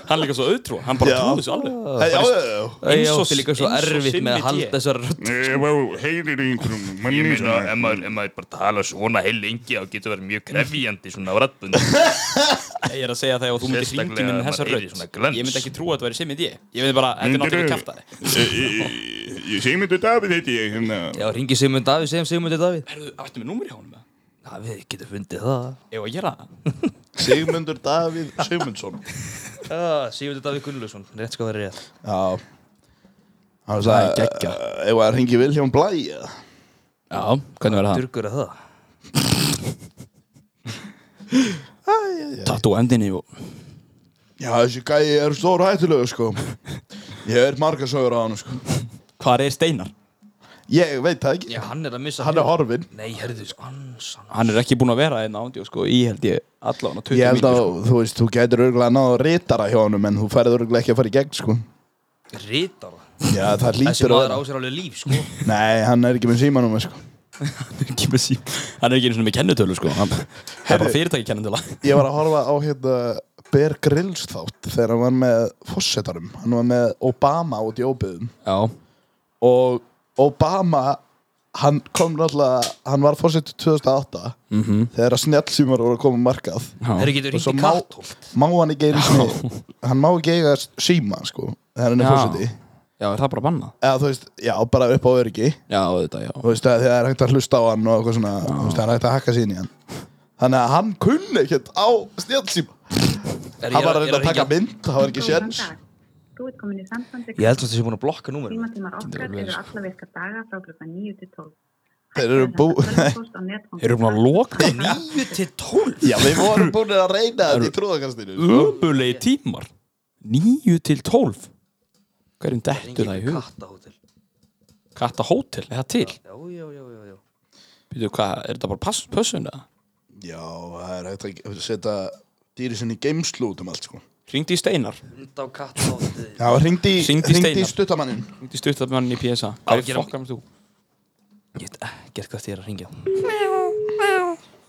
Speaker 4: Hann er líka svo auðtrú, hann bara
Speaker 3: Já.
Speaker 4: trúði svo alveg
Speaker 3: Hey, já, já, já.
Speaker 5: Ég
Speaker 4: Eins og-
Speaker 5: átti líka svo
Speaker 4: eins og
Speaker 5: erfitt
Speaker 4: Simmi D.
Speaker 5: með að halda þessar rödd
Speaker 2: Eh, Ég meina, ef maður, ef maður bara tala svona heil lengi þá getur verið mjög krefjandi svona rættbund
Speaker 4: Ég er að segja það og þú myndir
Speaker 2: Sérstaklega
Speaker 4: hringi minn
Speaker 2: að
Speaker 4: þessa
Speaker 2: maður
Speaker 4: rödd
Speaker 2: heyri svona glens.
Speaker 4: Ég myndi ekki trúa að þetta væri Simmi D Ég myndi bara, þetta er
Speaker 2: Myndirðu?
Speaker 4: náttúrulega kæftari
Speaker 2: Eh, Ég segi myndu David eh, heiti ég hérna
Speaker 5: Já, ringi Sigmund Davíð, segjum Sigmundi Davíð
Speaker 4: Erðu, áttu með númur í honum?
Speaker 5: Já, við getum fundið það
Speaker 4: Ég var að gera það
Speaker 3: Sigmundur Davíð Sigmundsson
Speaker 5: Já, Sigmundi Davíð Gunnlaugsson, rétt sko verið rétt
Speaker 3: Já Hann sagði,
Speaker 4: geggjað.
Speaker 3: eh, ef að ringi Viljón Blæ eða?
Speaker 4: Já, hvernig verður það?
Speaker 5: Durgur að það
Speaker 4: Tattu endinni og
Speaker 3: Já, þessi gæi er stór hættulegu sko Ég er margar sögur á hann sko
Speaker 4: Hvar er Steinar?
Speaker 3: Ég veit það ekki,
Speaker 5: Já, hann er að missa
Speaker 3: hann er horfinn
Speaker 5: Nei, sko, herðu, ansan
Speaker 4: Hann er ekki búinn að vera einn ándi og sko Ég held ég allavega 20
Speaker 3: Ég held að,
Speaker 4: mínútur,
Speaker 3: þú veist, þú gætir örgulega náðu rítara hjá honum en þú færið örgulega ekki að fara í gegn sko
Speaker 5: Ritara
Speaker 3: Já, það
Speaker 5: Þessi
Speaker 3: lítur að
Speaker 5: maður á
Speaker 3: vera
Speaker 5: sér alveg líf, sko
Speaker 3: Nei, hann er ekki með símanum sko
Speaker 4: sko. Ekki með sím- Hann er ekki einu svona með kennutölu sko Hann hann er bara fyrirtæki kennutöla
Speaker 3: Ég var að horfa á hérna Bear Grylls þátt þegar hann var með fósetarum, hann var með Obama út í óbyðum
Speaker 4: Já
Speaker 3: og Obama hann kom náttúrulega, hann var fórsetið 2008 þegar að snjallsýmar voru að koma á markað
Speaker 5: Herru, getur
Speaker 3: og svo
Speaker 5: ringi
Speaker 3: má,
Speaker 5: kartóft
Speaker 3: má hann ekki einu sinni hann má ekki eiga síma sko þegar hann er
Speaker 4: Já.
Speaker 3: fórsetið
Speaker 4: Já, er það bara bannað?
Speaker 3: eða þú veist, já, bara upp á öryggi
Speaker 4: Já, þetta, já
Speaker 3: þú veist, að það er hægt að hlusta á hann og eitthvað svona, þú veist, það er hægt að hakka sín í hann þannig að hann kunni ekkert á snjallsýma
Speaker 5: Er
Speaker 3: hann
Speaker 5: ég
Speaker 3: var að
Speaker 5: er
Speaker 3: reyna að taka
Speaker 5: hringja-
Speaker 3: mynd, það var ekki
Speaker 9: Góðan
Speaker 3: séns
Speaker 9: dag. Þú ert komin í samband við
Speaker 5: Ég held samt að ég er búin að blokka númerum
Speaker 9: tímatímar okkar eru alla virka daga frá klukkan 9 til 12.
Speaker 3: þeir eru bú,
Speaker 4: Erum við að loka
Speaker 5: Níu til tólf
Speaker 3: já, við vorum búin að reyna þetta í trúðakastinu
Speaker 4: ömulegi tímar? 9 til 12 Hverjum dettur það í hug?
Speaker 5: kattahótel
Speaker 4: Katta hótel, er það til?
Speaker 5: Já, já, já, já, já
Speaker 4: Býtu, hvað, er þetta bara pass, pössun eða?
Speaker 3: Já, það er hægt að setja dýri sinni í geimslu út um allt sko.
Speaker 4: Ringdi í Steinar,
Speaker 5: Hund á kattahótel
Speaker 3: Já, hringdi,
Speaker 4: Hringdu í
Speaker 3: hringdi í
Speaker 4: Steinar.
Speaker 3: stuttamannin
Speaker 4: ringdi í stuttabmannin í PSA Hvað er
Speaker 5: gerum-
Speaker 4: fokkar með þú?
Speaker 5: Ég veit ekkert hvað þið er að ringja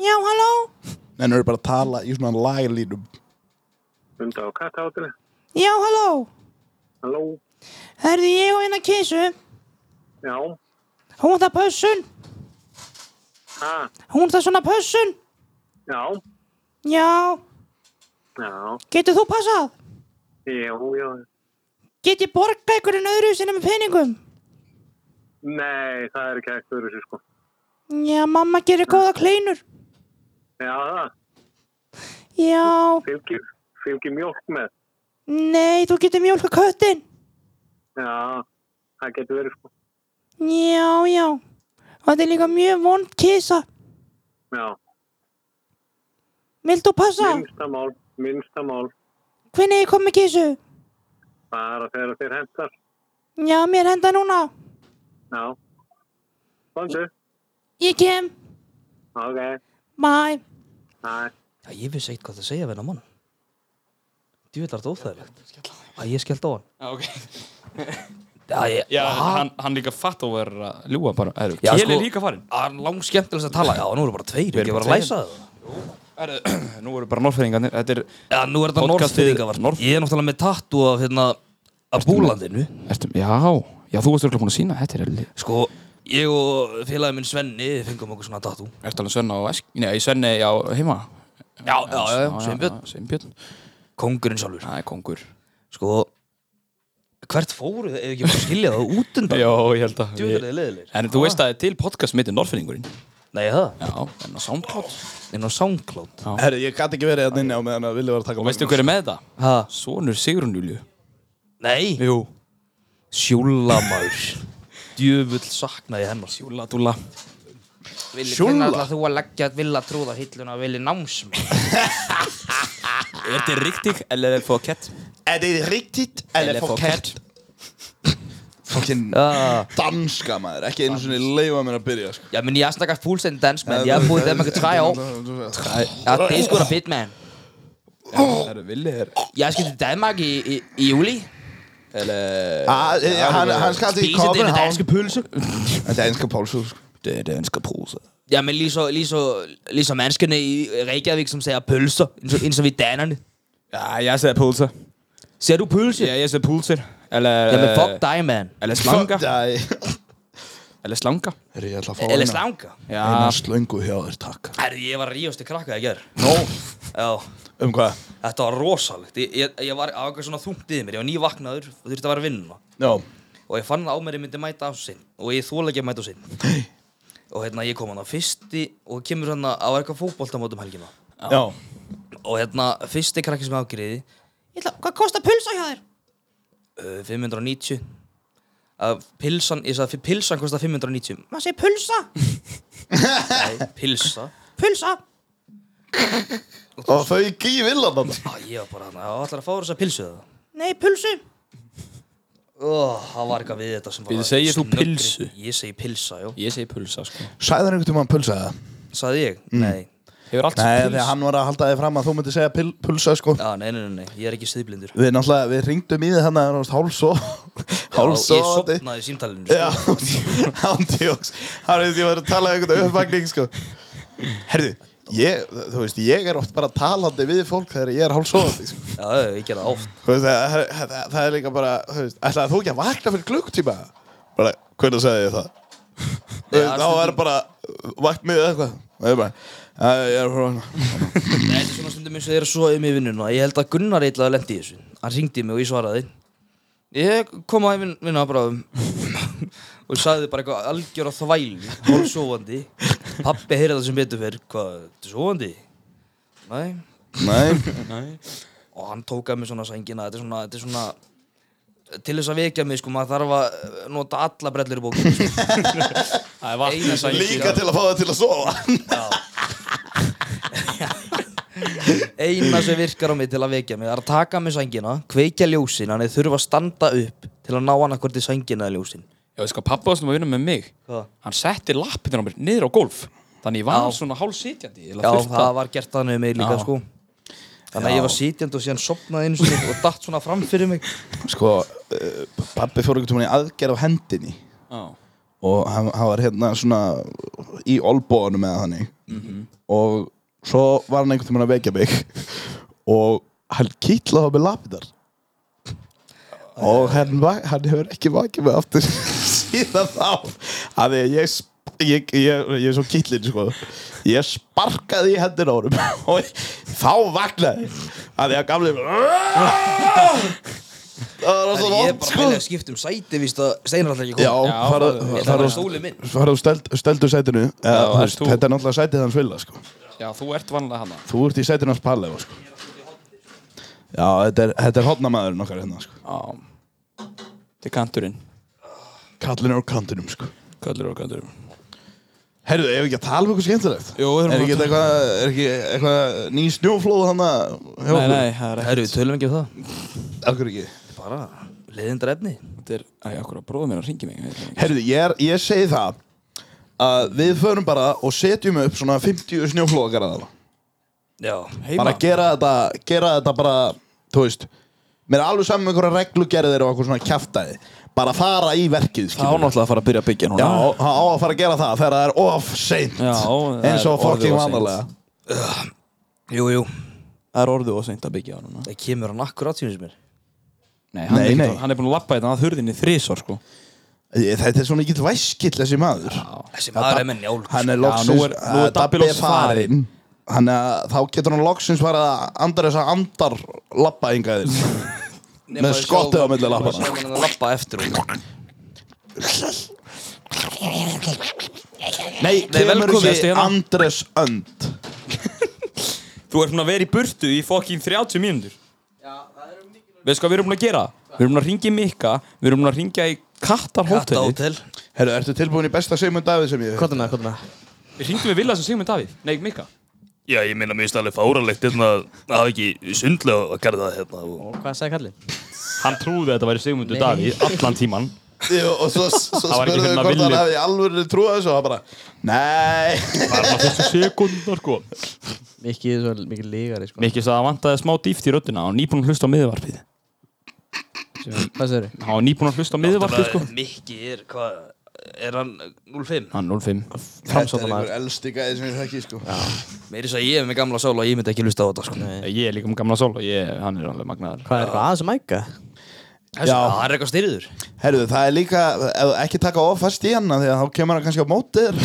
Speaker 9: Já, halló.
Speaker 3: Nei, nú er bara að tala í svona laglínum
Speaker 8: Hunda og katta áttunni.
Speaker 9: Já, halló.
Speaker 8: Halló.
Speaker 9: Herði ég og eina kísu.
Speaker 8: Já.
Speaker 9: Hún það pössun.
Speaker 8: Ha.
Speaker 9: Hún það svona pössun.
Speaker 8: Já.
Speaker 9: Já.
Speaker 8: Já.
Speaker 9: Getur þú passað?
Speaker 8: Jú, jú.
Speaker 9: Get ég borga einhverjum öðru sinni með peningum?
Speaker 8: Nei, það er ekki ekkert öðru sér sko.
Speaker 9: Já, mamma gerir góða kleinur.
Speaker 8: Já, það.
Speaker 9: Já.
Speaker 8: Fylgir, fylgir mjólk með.
Speaker 9: Nei, þú getur mjólka köttin.
Speaker 8: Já. Það getur verið sko.
Speaker 9: Já, já. Og þetta er líka mjög vond kísa.
Speaker 8: Já.
Speaker 9: Vilt þú passa?
Speaker 8: Minnsta mál. Minnsta mál.
Speaker 9: Hvernig ég kom með kísu?
Speaker 8: Bara þegar þeir hentar.
Speaker 9: Já, mér henda núna.
Speaker 8: Já. Komdu.
Speaker 9: Ég kem.
Speaker 8: Ok.
Speaker 9: Bye.
Speaker 8: Næ.
Speaker 5: Já, ég vissi eitt hvað það segja við hennar mann Djúvill er þetta óþægilegt Já, ég skellt á hann
Speaker 4: Já, ok
Speaker 5: Já, ég,
Speaker 4: Já, hann, hann líka fatt og verður að ljúa bara er,
Speaker 5: Já,
Speaker 4: Kjell
Speaker 5: sko-
Speaker 4: er líka farinn
Speaker 5: hann langt skemmtilegst að tala Já, nú eru bara tveir,
Speaker 4: Við
Speaker 5: ekki
Speaker 4: erum
Speaker 5: bara að
Speaker 4: bara
Speaker 5: læsa það
Speaker 4: er, Nú eru bara norfæðingarnir Þetta er,
Speaker 5: Já, nú er þetta
Speaker 4: Podcastið-
Speaker 5: norðfyrðingavar
Speaker 4: Norð-
Speaker 5: Ég er náttúrulega með tattu af, hérna, af búlandinu
Speaker 4: ertu, já, já, þú varst örgulega búin að sína Þetta er,
Speaker 5: Sko, Ég og félagi minn Svenni fengum okkur svona tattoo
Speaker 4: Ertu alveg Svenna á Esk? Nei, Svenni á heima
Speaker 5: Já, já, já, já, Sveinbjörn
Speaker 4: Sveinbjörn
Speaker 5: Kongurinn sjálfur
Speaker 4: Það er kongur
Speaker 5: Sko Hvert fóru þau? Ef ekki bara skilja það út undan
Speaker 4: Já, ég held að
Speaker 5: Djúður er leiðilegir
Speaker 4: En þú veist að það er til podcast mitt í Norfinningurinn
Speaker 5: Nei, það
Speaker 4: Já, en á SoundCloud
Speaker 5: Inn á SoundCloud
Speaker 3: Herri, ég gæti ekki verið hérna inni á meðan að Vili var að taka
Speaker 4: Og veistu hver er með þetta?
Speaker 5: Ha?
Speaker 4: Sonur Sigrun Júliu
Speaker 5: Nei
Speaker 4: Jú
Speaker 5: Sjúlamaur Djöfull saknaði hennar
Speaker 4: Júla Dúla
Speaker 10: Vili,
Speaker 3: Sjólla?
Speaker 10: hvernig ætlar þú að leggja vilja trúða hilluna og vilja námsmi?
Speaker 4: Er þetta riktig eller er fokett?
Speaker 3: Er þið riktigt eller fokett? Fokkin Ah.
Speaker 5: Já,
Speaker 3: danska maður, ekki einu svona leifa mér að byrja sko.
Speaker 10: Já, menn ég snakkar fullstændig dansk, menn ég búið þeim ekki træ á. Já, det er sko sgu da fedt, mand.
Speaker 4: Er það villið er
Speaker 10: Jeg skal til Danmark i, i, i juli.
Speaker 4: Eller
Speaker 3: Ah, eh, Hann hann skal til
Speaker 10: Spise det med
Speaker 3: Kopenhavn
Speaker 10: danske pølse.
Speaker 3: Danska pálsúr sko.
Speaker 4: Det er danske prosa
Speaker 10: Ja, men lige så, lige, så, lige så menneskene i Reykjavik, som siger pølser, end så, end så vi danerne.
Speaker 4: Ja, jeg sagde pulser
Speaker 10: Ser du pølse?
Speaker 4: Ja, jeg sagde pulser Eller
Speaker 10: Jamen,
Speaker 5: eh,
Speaker 10: fuck dig, mand.
Speaker 4: Eller slanker
Speaker 3: Dæ
Speaker 4: Eller slanker
Speaker 3: Herri, ég ætla að fá
Speaker 10: Eller
Speaker 3: eina
Speaker 10: slanker.
Speaker 4: Ja
Speaker 3: Eina slöngu hjá þér, takk
Speaker 5: Herri, ég var ríðasti krakka í ger
Speaker 3: Nó,
Speaker 5: Já
Speaker 3: um hvað?
Speaker 5: Þetta var rosalegt Ég, ég, ég var á eitthvað svona þungt yfir mér Ég var nývaknaður og þurfti að vera að vinna
Speaker 3: Já,
Speaker 5: Og ég fann það á mér ég myndi mæta á sinn Og ég þóla ekki að mæta á sinn Og hérna ég kom hann á fyrsti Og kemur hann á eitthvað fótboltamótum helgina
Speaker 3: já
Speaker 5: Og hérna fyrsti krakki sem afgriði
Speaker 9: Ég ætla, hvað kostar pulsa hjá þér?
Speaker 5: uh, 590 að pilsan, ég sagði fyrir pilsan kostar 590
Speaker 9: Maður segir pulsa,
Speaker 5: Nei, pilsa
Speaker 9: pulsa.
Speaker 3: Og þau ekki í villan þarna
Speaker 5: Á, Ég var bara hann, ég ætlar að fá þess að pilsu það
Speaker 9: Nei, pulsu.
Speaker 5: Ó, það var eitthvað við þetta sem var
Speaker 4: Við segir þú
Speaker 5: snöggri.
Speaker 4: pilsu?
Speaker 5: Ég segi pilsa, já
Speaker 4: Ég segi pulsa sko
Speaker 3: Sæðan einhvern tímann pulsaði það?
Speaker 5: Saði ég?
Speaker 4: Mm.
Speaker 5: Nei
Speaker 4: Hefur allt
Speaker 3: Nei,
Speaker 4: sem
Speaker 3: þegar hann var að halda þig fram að þú myndi segja pil, pulsa sko
Speaker 5: Já, nei, nei, nei, nei, ég er ekki stiðblindur
Speaker 3: Við náttúrulega, við ringdum í þig hérna, hann að háls og háls
Speaker 5: Já, Ég
Speaker 3: og
Speaker 5: sopnaði í símtalinu sko.
Speaker 3: Já, ándjóks Það er því að vera að tala um einhvern uppvagning sko. Herðu, ég, þú veist, ég er oft bara talandi við fólk þegar ég er hálfsóðandi sko.
Speaker 5: Já, já, ég gerði það oft
Speaker 3: Þú veist, það, er- það, það er líka bara þú veist, ætlaði þú ekki að vakna fyrir klukktíma bara, hvernig sagði ég það Þú veist, þá er bara vakt mig eða eitthvað og ég bara, "Já, ég er frá hana
Speaker 5: Nei, þetta er svona stundum eins og þeir eru svo um í vinnuna Ég held að Gunnar eitthvað lendi í þessu Hann ringdi mig og ég svaraði Ég kom að vin, vinna bara um Og sagði bara eitthvað algjör á þvæl Hálf sofandi Pappi heyrði það sem betur fyrr Hvað, þetta er sofandi? Nei
Speaker 3: Nei,
Speaker 5: Og hann tók að mig svona sængina Þetta er svona, þetta er svona Til þess að vekja mig, sko, maður þarf að eh, nota alla brellur í bókinu sko.
Speaker 4: Það er vatn
Speaker 5: Eina sæng.
Speaker 3: líka til að fá það til að sofa
Speaker 5: eina sem virkar á mig til að vekja mig er að taka mig sængina, kveikja ljósin hann er þurfa að standa upp til að ná hann hvort í sængina eða ljósin
Speaker 4: Já, sko, pappa var sem að vinna með mig
Speaker 5: Hvað?
Speaker 4: Hann setti lappinir á mér niður á gólf Þannig ég var
Speaker 5: Já.
Speaker 4: svona hálf sitjandi
Speaker 5: Já, það var gert þannig með mig líka
Speaker 4: Já.
Speaker 5: sko Þannig að ég var sitjandi og síðan sopnaði einu sinni og datt svona fram fyrir mig
Speaker 3: Sko, uh, pappi fór einhvern tímann í aðgerð á hendinni
Speaker 4: Já
Speaker 3: og hann, hann var hérna svona í olbóðanum með þannig
Speaker 5: Mhm.
Speaker 3: og svo var hann einhvern tímann að vekja mig og hann kýtlaði á mig lapidar og hann, va- hann hefur ekki vakið mig aftur síðan þá af því að ég, sp- ég, ég, ég er svo kýtlin sko ég sparkaði í hendur á honum og þá vaknaði af því að gamli það var
Speaker 5: Þannig
Speaker 3: svo
Speaker 5: að ég
Speaker 3: vond
Speaker 5: bara vilja skipta um sæti víst að steinar alltaf ekki
Speaker 3: Já,
Speaker 5: kom
Speaker 3: farað
Speaker 5: Ég ætla að vera stólið minn
Speaker 3: farað steld, steldu sætinu eða,
Speaker 4: Já,
Speaker 3: þú veist,
Speaker 4: ert þú-
Speaker 3: þetta er náttúrulega sætið hans vilja sko.
Speaker 4: Já, þú ert vanlega hann
Speaker 3: þú ert í sætinu hans pallega sko. já, þetta er, þetta er hotnamaðurinn okkar hérna sko.
Speaker 4: Já Þetta er kanturinn
Speaker 3: kallin er á kantinum sko.
Speaker 4: Kallur og kanturinn
Speaker 3: herru, ef ekki að tala um eitthvað skemmtilegt
Speaker 4: Jó, við
Speaker 3: er
Speaker 4: erum
Speaker 3: ekki
Speaker 4: bara-
Speaker 3: eitthvað, er ekki eitthvað ný snjóflóð hann að
Speaker 4: Nei, nei, það er
Speaker 5: Herru, tölum ekki um það
Speaker 3: okkur ekki
Speaker 5: Bara, leiðindar efni
Speaker 4: Þetta er, æ, okkur að bróða mér að ringi mig ég ætla ekki-
Speaker 3: herru, ég, er- ég segi það að við förum bara og setjum upp svona 50 snjóflóðgarðala
Speaker 5: Já,
Speaker 4: Heima
Speaker 3: bara gera þetta, gera þetta bara, þú veist mér er alveg saman með einhverja reglugerðir og eitthvað svona kjaftaði bara fara í verkið
Speaker 4: Það á
Speaker 3: skilurðu.
Speaker 4: náttúrulega að fara að byrja að byggja núna
Speaker 3: Já, það á að fara að gera það þegar það er of seint
Speaker 4: Já, það
Speaker 3: eins og
Speaker 4: er orðið
Speaker 3: fokking
Speaker 4: of seint.
Speaker 3: vanalega
Speaker 5: jú, jú
Speaker 4: Það er orðið og seint að byggja á núna
Speaker 5: Það kemur hann akkur á tímins mér
Speaker 3: Nei,
Speaker 4: Nei, hann, er,
Speaker 3: nei.
Speaker 4: hérna nei. hann er búin að lappa þetta að hurðinni þrísor sko
Speaker 3: Ég- Þetta er svona ekki væskill þessi maður
Speaker 5: Þessi maður er með njálg,
Speaker 3: Hann er
Speaker 5: sko.
Speaker 3: loksins,
Speaker 5: Já, nú er- nú er
Speaker 3: að
Speaker 5: Dabbi
Speaker 3: Dabbi
Speaker 5: loksins farinn.
Speaker 3: farinn. Hann er- Þá getur hann loksins farið að andar þess að andar lappa yngaðir Með skottið á milli lappana
Speaker 5: Hann lappa eftir hún
Speaker 3: Nei, kemur
Speaker 11: velkomin-
Speaker 3: ekki Andres önd
Speaker 11: Þú ert búin að vera í burtu í fokkin 30 mínútur Já, það er um mikilvægt Veist hvað við erum búin að gera? Við erum búin að ringja í Mikka Við erum búin að ringja í Kattarhóteli
Speaker 5: Kattahótel.
Speaker 3: Herru, ertu tilbúin í besta Sigmund Davíð sem ég Hvað
Speaker 1: er það?
Speaker 11: Við ringdum við Villa sem Sigmund Davíð Nei, Mikka
Speaker 2: Já, ég meina, mér finnst alveg fáralegt hérna að hafa ekki sundlega að gera það hérna og...
Speaker 1: Hvað sagði kallinn?
Speaker 4: Hann trúði að þetta væri Sigmundur
Speaker 1: Nei.
Speaker 4: Davíð allan tíman
Speaker 3: Jú, og svo, svo
Speaker 4: Það var
Speaker 3: spurðu
Speaker 4: ekki fyrir
Speaker 3: við hvort
Speaker 4: maður
Speaker 3: hann
Speaker 4: villi.
Speaker 3: hefði alvöru trúið þessu og það bara, nei
Speaker 4: Það er maður fyrstu sekundar sko
Speaker 1: Mikið, svo, mikið lígari sko
Speaker 4: Mikið sagði að það vantaði smá dýft í röddina og nýbúin að hlusta á miðvarpið
Speaker 1: Hvað segir þið?
Speaker 4: Hann var nýbúin að hlusta á miðvarpið sko
Speaker 5: Mikki er, hvað, er hann 05?
Speaker 4: Hann 05
Speaker 3: Þetta er einhver elsti gæði sem ég þekki, sko
Speaker 5: Meiri svo að ég er með gamla sól og ég myndi ekki hlusta á þetta sko
Speaker 4: Ég er líka með gamla sól og ég, hann er alveg magnaður
Speaker 1: Hvað er eitthvað aðeins að mæka?
Speaker 5: Já Það er eitthvað styrirður
Speaker 3: Herru, það er líka, ef- ekki taka ofast í hann af því að þá kemur hann kannski á mótið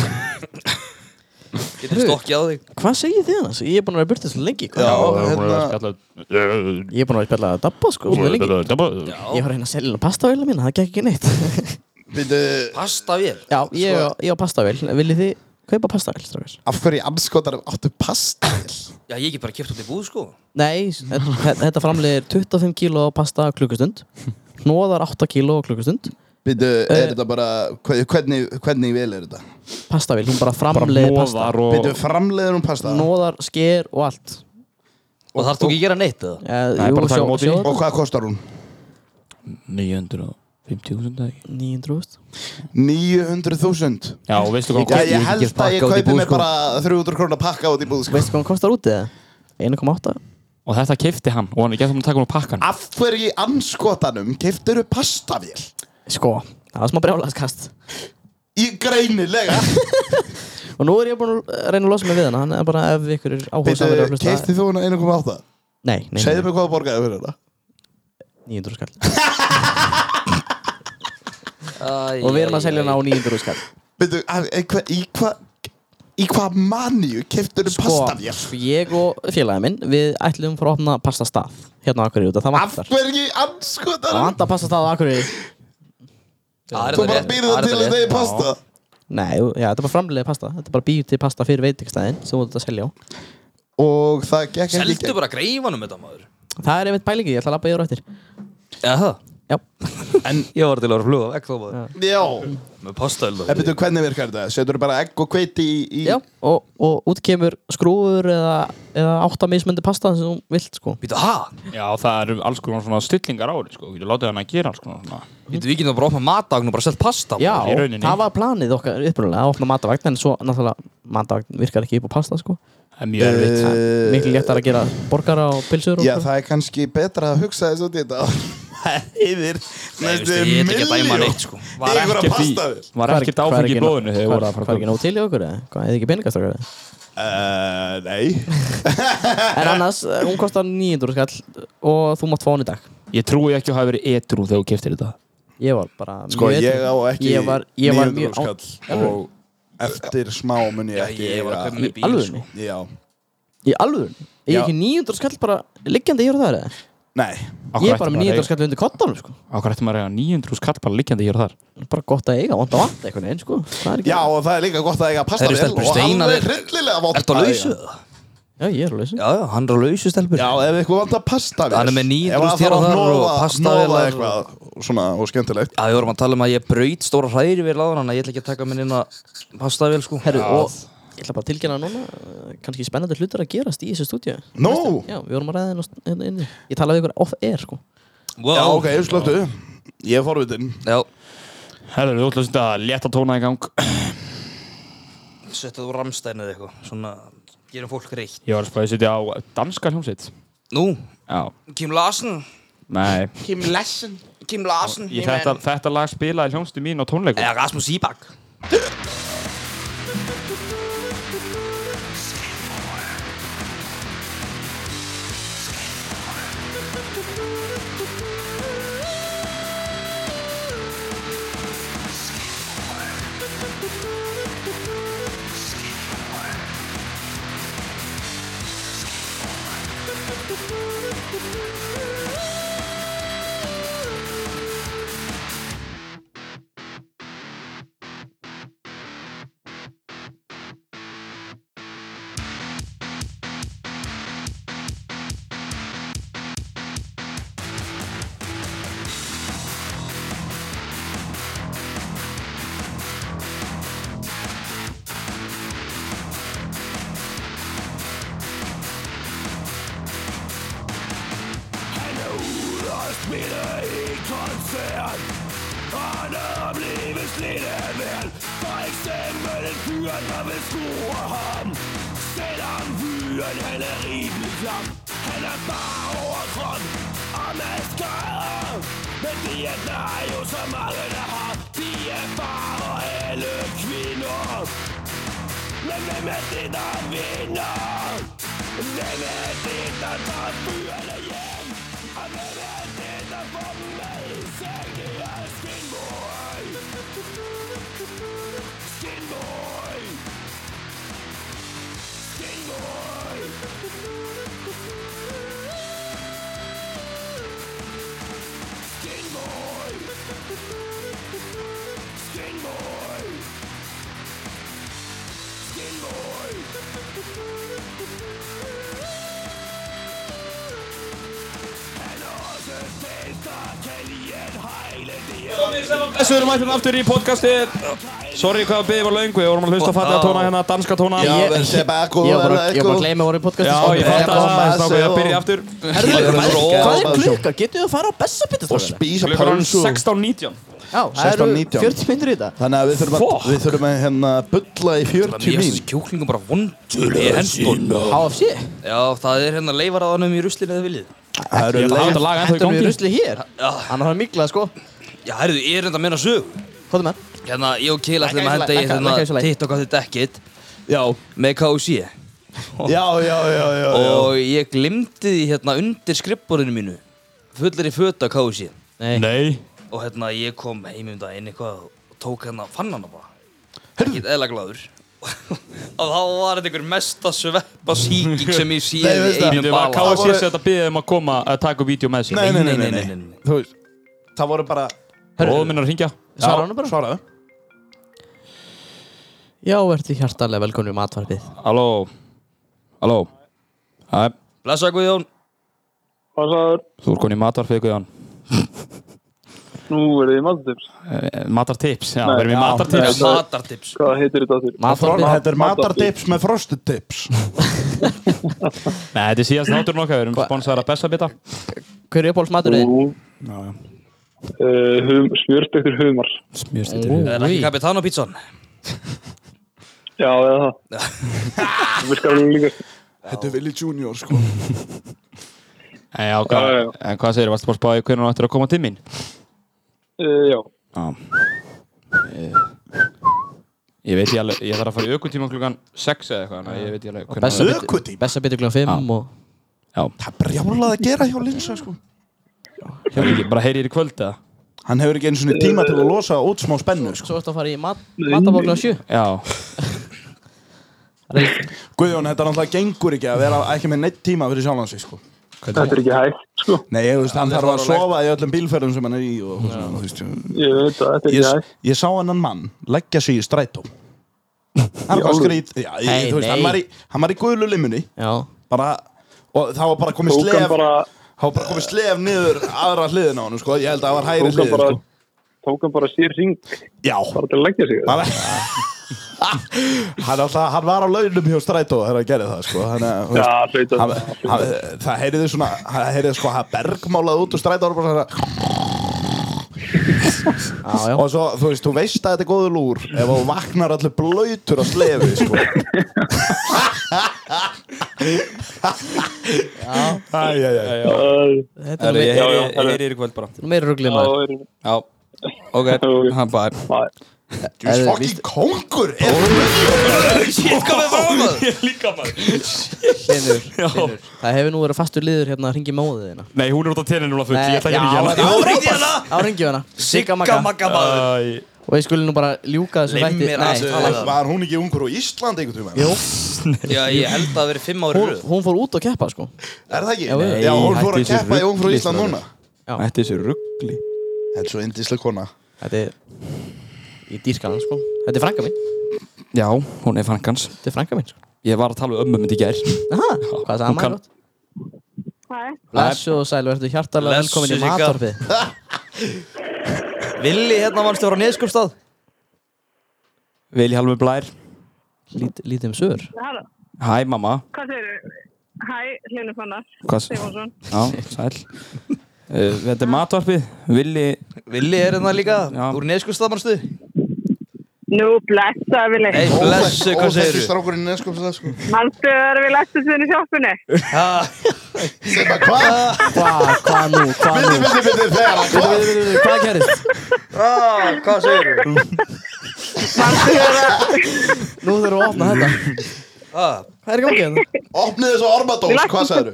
Speaker 5: Getur stokkið á þig
Speaker 1: Hvað segir þið annars? Ég er búin að vera burtið svo lengi hvað?
Speaker 3: Já, hérna,
Speaker 1: Ég er búin að vera að spjalla að dabba sko svo lengi.
Speaker 4: Dabba
Speaker 1: Ég var að reyna að selja pastavél mín, það gekk ekki neitt Sko-
Speaker 3: Bindu,
Speaker 5: Pasta vel
Speaker 1: Já, ég, á- ég á pastavél, viljið þið kaupa pastavél strákar?
Speaker 3: af hverju anskotar áttu pastil?
Speaker 5: Já, ég get bara kæft út í búð sko
Speaker 1: Nei, s- þe- þetta framlegir 25 kíló af pasta á klukkustund Hnoðar 8 kíló á klukkustund
Speaker 3: Bindu,
Speaker 1: Eh.
Speaker 3: er þetta bara, hve- hvernig, hvernig vel er þetta?
Speaker 1: Pastavél, hún bara framlegir pasta
Speaker 4: og
Speaker 3: Bindu, framleiður hún pasta?
Speaker 1: Hnoðar, sker og allt
Speaker 5: Og þarf þú ekki að gera neitt eða?
Speaker 1: Eh,
Speaker 4: Nei,
Speaker 1: jú,
Speaker 4: bara taka
Speaker 1: sjó-
Speaker 4: á móti.
Speaker 1: sjóða
Speaker 3: Og hvað kostar hún?
Speaker 4: 950.000 dag
Speaker 1: 900
Speaker 3: 900.000
Speaker 4: Já, og veistu hvað
Speaker 3: Já,
Speaker 4: hann
Speaker 3: ég held að ég
Speaker 1: pakka út í
Speaker 3: kaupi
Speaker 1: búð,
Speaker 3: mig
Speaker 1: sko.
Speaker 3: bara 300 krónu pakka út í búð, sko
Speaker 1: Veistu hvað hún kostar úti það? 1,8
Speaker 4: Og þetta kefti hann og hann er gett um að taka hún á
Speaker 1: Ah.
Speaker 4: pakkan
Speaker 3: Af hverju í anskotanum keftur þú pastavél?
Speaker 1: Sko, það var smá brjálaðskast
Speaker 3: Í greinilega
Speaker 1: Og nú er ég búin að reyna að losa mig við hana Þannig að bara ef ykkur er áhuga samverið að hlusta
Speaker 3: Keftið þú hana 1,8?
Speaker 1: Nei, nei,
Speaker 3: Segðu mig hvað þú borgaði fyrir hana
Speaker 1: 900 skall Og við erum að selja hana á 900 skall
Speaker 3: Beidu, í hvað í hva, í hva manju keftur
Speaker 1: Sko,
Speaker 3: þú pastavél?
Speaker 1: ég og félagið minn Við ætlum frá að opna pastastað Hérna á Akureyri út af það
Speaker 3: Af
Speaker 1: vantar
Speaker 3: hverju í
Speaker 1: Það
Speaker 3: anskotanum?
Speaker 1: vantar pastastað á Akureyri
Speaker 5: Það
Speaker 3: Þú bara býrðu það til að þeir pasta
Speaker 1: Nei, jú, já, þetta er bara framlega pasta Þetta er bara býju til pasta fyrir veitingstæðin sem þú ert að selja á
Speaker 3: Og það gekk ekki
Speaker 5: Seldu bara greifanum þetta maður
Speaker 1: Það er einmitt pælingi, ég ætla að labba yfir á eftir
Speaker 5: Já, það
Speaker 1: Já,
Speaker 3: En,
Speaker 5: Ég var til að vera að fluga vekk þá maður
Speaker 3: já
Speaker 5: Með pasta
Speaker 3: En beidu, hvernig virkar þetta? Setur þú bara egg og hveiti í, í
Speaker 1: já og, og út kemur skrúfur eða, eða átta mismöndi pasta sem þú vilt sko
Speaker 5: Býtu, ha?
Speaker 4: Já, það eru alls konar svona stillingar ári sko Þú látið hann að gera alls konar svona
Speaker 5: Býtu, við getum bara að opna matagn og bara selja pasta
Speaker 1: Já,
Speaker 4: í rauninni.
Speaker 1: það var planið okkar upprunalega að opna matavagn en svo náttúrulega matavagn virkar ekki upp á pasta sko
Speaker 4: Það er mjög erfitt
Speaker 3: Eh,
Speaker 1: Mikið léttar að gera borgara og pilsur og
Speaker 3: Já, það er kannski betra að hugsa þessu út í þetta Heiðir
Speaker 5: Nei, veistu, ég get ekki að dæma neitt sko
Speaker 3: Var
Speaker 4: Ekkert
Speaker 3: ekki
Speaker 4: í- Var ekkert áfengi í blóðinu þegar voru að
Speaker 1: Hvað
Speaker 4: fara
Speaker 1: er ekki nóg til í okkur eða? Hvað, eða ekki peningast okkur eða?
Speaker 3: Eh, Nei
Speaker 1: En annars, eh, hún kostar 900 skall og þú mátt fá hún í dag
Speaker 4: Ég trúi ekki að hafa verið etrú þegar þú keftir þetta
Speaker 1: Ég var bara
Speaker 3: Sko,
Speaker 1: mjög
Speaker 3: ég
Speaker 1: edrú.
Speaker 3: á ekki
Speaker 1: Ég var, ég var
Speaker 3: 900
Speaker 1: mjög á-
Speaker 3: skall Og eftir smá mun ég ekki
Speaker 5: Ég var að
Speaker 3: eiga-
Speaker 5: köpa með
Speaker 1: Í
Speaker 5: bíl
Speaker 1: alvörunni?
Speaker 5: sko
Speaker 3: Já,
Speaker 1: Í alvöru? Ég
Speaker 3: Já.
Speaker 1: ekki 900 skall bara liggjandi hér og það eða?
Speaker 3: nei
Speaker 1: Ég er bara með 900 skall undir kottanum sko
Speaker 4: Ákvært ætti maður að eiga 900 skall bara liggjandi hér og þar
Speaker 1: Bara gott að eiga, vant að vant einhvern veginn sko Það er ekki
Speaker 3: Já, og það er líka gott að eiga pasta
Speaker 5: Herru,
Speaker 3: vel
Speaker 5: stelpur,
Speaker 3: Og
Speaker 5: Steinar
Speaker 3: alveg
Speaker 5: er-
Speaker 3: hryllilega vant
Speaker 5: Ertu á
Speaker 3: að
Speaker 5: lausu?
Speaker 3: eiga.
Speaker 1: Já, ég er alveg um
Speaker 5: Já, já, hann er á lausu stelpur
Speaker 3: Já, ef eitthvað vant að pasta vel
Speaker 5: Hann er með 900 hér og þar og pasta
Speaker 3: Nófa
Speaker 5: vélar.
Speaker 3: eitthvað svona og skemmtilegt
Speaker 5: Já, við vorum að tala um að ég braut stóra hræri við láðan Þannig að ég ætla ekki að taka minn inn að pasta vel sko
Speaker 1: Herru, og ég ætla bara að tilkynna núna eh, kannski spennandi hlutur að gerast í þessu stúdíu
Speaker 3: Nú,
Speaker 1: Já, við vorum að ræða hérna á st- hérna inni Ég talaði við ykkur off-air sko
Speaker 3: já, ok, slöktu Ég er forvitin
Speaker 5: Já,
Speaker 4: Herður, þú ætla að setja létta tóna í gang
Speaker 5: settu þú ramstæn eða eitthvað Svona, gerum fólk reitt
Speaker 4: Ég var að spæði að setja á danska hljómsveit
Speaker 5: Nú,
Speaker 4: Já,
Speaker 5: Kim Larsen
Speaker 4: nei
Speaker 5: Kim Larsen Kim Larsen
Speaker 4: Ég, þetta, þetta lag spilaði hljómsveitin mín á tónleikum
Speaker 5: Eða Rasmus Íbak
Speaker 12: Skateboard. Hello, lasst wieder ein Konzert. Alle am Lebensleder werden. Bikes in meinen Türen, da willst du haben. Steht am Wühlen, helle Riesenklamm. Helle Bauer von Ameska. Mit dir Naius am Haar. Die Erfahrer, helle Quino. Nimm mir mit den Wiener. Nimm mir den Wiener.
Speaker 11: Þessu erum mættir aftur í podcastið Sorry hvað að beðið var laungu Við vorum að hlusta að fatja að tóna hérna, danska tóna
Speaker 3: Já, við erum Sebago,
Speaker 1: Ég var bara- ég var bara að gleyma að voru í sko. podcastið.
Speaker 11: Já, ég fatt að það er snáku, ég
Speaker 1: Og-
Speaker 11: byrja aftur
Speaker 1: Herðu, hvað er- hvað er klukka? Getur þú að fara á bessabitið?
Speaker 3: Og spísa
Speaker 11: Klukkan er
Speaker 3: pölsu.
Speaker 11: 16.19
Speaker 1: Já, það eru 40 minnur í þetta
Speaker 3: Þannig að við þurfum að, við þurfum að hérna bulla í 40 mín
Speaker 5: Jesus, kjúklingum bara vondur í hendun
Speaker 1: HFC
Speaker 5: Já, það er hérna leifaraðanum í ruslinu eða viljið
Speaker 3: Það eru
Speaker 5: Ég held að þetta lag ennþá í
Speaker 1: Hættum við
Speaker 5: gangi.
Speaker 1: rusli hér
Speaker 5: Já.
Speaker 1: Hann har miklað sko
Speaker 5: Já, herruðu, ég er hérna að meina sög
Speaker 1: Hvað er með?
Speaker 5: Hérna, ég og Kila ætlum
Speaker 1: Lækka
Speaker 5: að henda
Speaker 1: í
Speaker 5: í
Speaker 1: svo- lækka- lækka í svo
Speaker 5: hérna
Speaker 1: læk.
Speaker 5: TikTok á þitt ekkit Já Með KC
Speaker 3: Já, já, já, já, já.
Speaker 5: Og ég glimti því hérna undir skrippborðinu mínu Fullir í föta KC
Speaker 1: Nei.
Speaker 5: Nei Og hérna, ég kom heim um daginn eitthvað og tók hérna, fann hana bara Ekkert eðla gláður Og þá var þetta einhver mesta sveppa síking sem ég sé
Speaker 11: Nei, veist
Speaker 5: í
Speaker 11: það.
Speaker 5: einum
Speaker 11: Bíddu, var
Speaker 5: bala
Speaker 11: KFC sem þetta biðið um að koma að taka vídeo með sér
Speaker 5: Nei, nei, nei, nei, nei, nei.
Speaker 3: Þú veist, það voru bara
Speaker 11: Bróðum minn er að ringja
Speaker 1: Svara honum bara.
Speaker 3: Svaraðu
Speaker 1: Já, ertu hjartalega velkomin í matvarpið
Speaker 4: Halló Halló Æ,
Speaker 5: Blessa Guðjón
Speaker 13: Passaður,
Speaker 4: Þú er komin í matvarfið Guðjón
Speaker 13: nú er þið matartips.
Speaker 4: Eh, Matartips, já,
Speaker 13: Nei,
Speaker 4: við erum í
Speaker 13: já,
Speaker 4: matartips
Speaker 13: nei, það- Hvað heitir þetta aftur?
Speaker 3: Þetta er matardips með frostedips
Speaker 4: Nei, þetta er síðast náttúrun okkar, við erum sponsaðar að besta bita
Speaker 1: Hver er uppáhaldsmaturinn?
Speaker 13: Uh, hum, smjörstektur humar.
Speaker 4: Smjörstektur
Speaker 5: Það er ekki Capitano pítsan
Speaker 13: Já, eða það. Það virkar alveg líka.
Speaker 3: Þetta er Willi Junior, sko
Speaker 4: En já, hva, en hvað segir, varstu bara að spáði hvernig hann ættir að koma til mín?
Speaker 13: Uh, já.
Speaker 4: Já Eh, Ég veit ég alveg, ég þarf að fara í aukutíma klukkan 6 eða eitthvað, þannig að ég veit ég alveg
Speaker 1: Bessabitið- Bessabitið klukkan 5 og
Speaker 4: Já
Speaker 3: Það er brjálað að gera hjá Linsa, sko
Speaker 4: Hefur ekki, bara heyri ég í kvöld eða?
Speaker 3: Hann hefur ekki einu svona tíma til að losa út smá spennu, sko
Speaker 1: Svo ertu að fara í mat, matabókla 7
Speaker 4: Já
Speaker 3: Guðjón, þetta náttúrulega gengur ekki að vera ekki með neitt tíma fyrir sjálfan sig, sko
Speaker 13: Þetta er ekki hægt, sko.
Speaker 3: Nei, ég veist, hann
Speaker 13: Þetta er
Speaker 3: þarf að
Speaker 13: fáránlegt.
Speaker 3: sofa í öllum bílferðum sem hann er í og, og svona, þú veist
Speaker 13: Ég veit það, þetta er ekki
Speaker 3: Ég,
Speaker 13: hægt.
Speaker 3: ég sá hennan mann leggja sig í strætó Hann
Speaker 13: Í
Speaker 3: var
Speaker 13: alvöru?
Speaker 3: skrít Já, ég,
Speaker 13: Hey,
Speaker 3: þú veist, hann
Speaker 13: nei.
Speaker 3: var í, hann var í guðlu limunni
Speaker 1: Já
Speaker 3: Bara, og það var bara komið
Speaker 13: Tók hann
Speaker 3: slef
Speaker 13: bara-
Speaker 3: Það var bara komið slef niður aðra hliðin á hann, sko Ég held að það var hægri
Speaker 13: Tók hann
Speaker 3: hliðin,
Speaker 13: bara,
Speaker 3: sko
Speaker 13: tók hann bara sér ring.
Speaker 3: Já.
Speaker 13: Bara til að leggja sig.
Speaker 3: Bara- hann, alltaf, hann var á launum hjá strætó þegar hann gerði það sko. Þannig, að, þú
Speaker 13: Já,
Speaker 3: veist,
Speaker 13: hlauta.
Speaker 3: hann, hann, það heyriði svona það heyriði sko að bergmálað út og strætó var bara svona
Speaker 1: já.
Speaker 3: og svo þú veist, þú veist að þetta er góður lúr ef þú vaknar allir blöytur á slefi sko. Æ, já, já, já.
Speaker 1: Þetta
Speaker 11: Herri, ég
Speaker 1: meira-
Speaker 11: heyri- ég
Speaker 1: Já, já,
Speaker 11: heyri þér í kvöld bara
Speaker 1: Þetta er meira ruglið maður
Speaker 11: Já, ok, hann bara
Speaker 3: Þú er fucking kongur
Speaker 11: Shit, hvað við fáum það? Ég líka maður
Speaker 1: Hlynur, Hlynur. Það hefur nú verið fastur liður hérna að ringi móðið þína
Speaker 4: Nei, hún er út á tenni núna full, ég ætla ekki að
Speaker 1: já,
Speaker 5: hérna.
Speaker 4: ringja hana
Speaker 1: þetta- Já, ringdu í hana Sigga Magga
Speaker 4: Æ,
Speaker 1: Og ég skulle nú bara ljúka þessu þætti
Speaker 3: Nei, var hún ekki ungur á Íslandi einhvern tíma?
Speaker 1: Jú.
Speaker 5: Já, ég held að það verið fimm ári
Speaker 1: hún, hún fór út að keppa sko
Speaker 3: Er það ekki?
Speaker 1: Já, við-
Speaker 3: Já, hún fór
Speaker 4: hætti
Speaker 3: að
Speaker 4: þessu
Speaker 3: keppa í Ungfrú
Speaker 4: rugli,
Speaker 3: Ísland
Speaker 4: strákur.
Speaker 3: núna
Speaker 4: Þetta er þessi ruggli
Speaker 3: Þetta er svo indislega kona
Speaker 1: Þetta er Ég dýrka hann sko Þetta er frænka mín
Speaker 4: Já, hún er frankans
Speaker 1: Þetta er frænka mín sko
Speaker 4: Ég var að tala við ömmu myndi gær
Speaker 1: Aha, Hvað er það
Speaker 4: Hún
Speaker 1: ammæli
Speaker 4: kann-
Speaker 1: gott? Blessu og sælu, verður hjartalega
Speaker 5: Blessuð
Speaker 1: velkomin í
Speaker 5: sé Gab.
Speaker 1: matorpið
Speaker 5: Villi hérna mannstu var á neðskupstað
Speaker 4: Vili Halmi Blær
Speaker 1: Lít, Lítið um sögur
Speaker 14: Halló,
Speaker 4: Hæ mamma
Speaker 14: hvað segirðu? Hæ, Hlynur Fannar
Speaker 4: Hvað-
Speaker 14: Sigurðsson
Speaker 4: Já, sæl uh, Þetta er matvarpið Vili
Speaker 5: Villi er hérna líka Úr neðskupstað mannstu
Speaker 14: Nú, blessa við leik
Speaker 5: Nei, blessu, hvað segirðu?
Speaker 3: strákurinn er sko það sko
Speaker 14: Manstu að við læstu sinni sjoppunni?
Speaker 3: Hvað?
Speaker 1: Hvað, hvað nú, hvað nú
Speaker 3: Bindi, bindi, bindi, þegar
Speaker 1: Bíddu, bíddu, bíddu, bíddu, Hvað gerist?
Speaker 5: Ah, hvað segir þú?
Speaker 1: Nú þurfum við að opna þetta Ah.
Speaker 5: Hvað
Speaker 1: er gangið hérna?
Speaker 3: Opnið þessu ormadós, hvað sagður þú?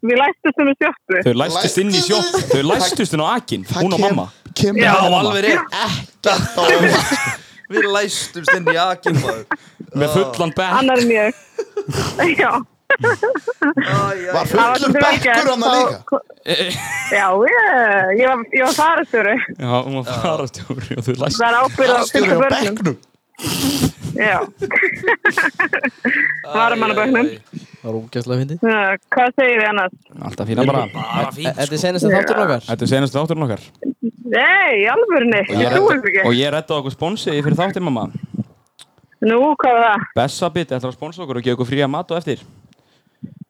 Speaker 14: Við læstu sinni sjoppu
Speaker 4: Þau læstust inn í sjótt Þau læstust inn á akin Hún og mamma
Speaker 3: Kemur
Speaker 5: Já,
Speaker 4: mamma.
Speaker 5: alveg rétt Ekkert á Við læstumst inn í akin maður
Speaker 4: Með fullan bekk
Speaker 14: Annar en ég Já
Speaker 3: Var
Speaker 14: Það var
Speaker 3: fullur
Speaker 14: svolítið vel
Speaker 3: bekkur
Speaker 14: gert,
Speaker 3: hann að
Speaker 14: þá-
Speaker 3: líka
Speaker 14: Já, ég, ég var, ég var farastjóri
Speaker 4: Já, hún var farastjóri og þau læstust
Speaker 14: Það er ábyrgð á fyrstu börnum Já Varamannabögnum
Speaker 1: Það var ógæstlega fyndið
Speaker 14: Hvað segir þið annars?
Speaker 4: Alltaf fína bara
Speaker 1: E-
Speaker 5: sko.
Speaker 1: Þetta er senast að þátturinn okkar
Speaker 4: Þetta er senast þátturinn okkar
Speaker 14: Nei, í alvörni,
Speaker 4: Og ég
Speaker 14: ég trúið
Speaker 4: redda- Og
Speaker 14: ekki
Speaker 4: ég reddaði okkur sponsi fyrir þáttinn mamma
Speaker 14: Nú, hvað var það?
Speaker 4: Bessabit ætlar að sponsa okkur og gefa okkur fría mat og eftir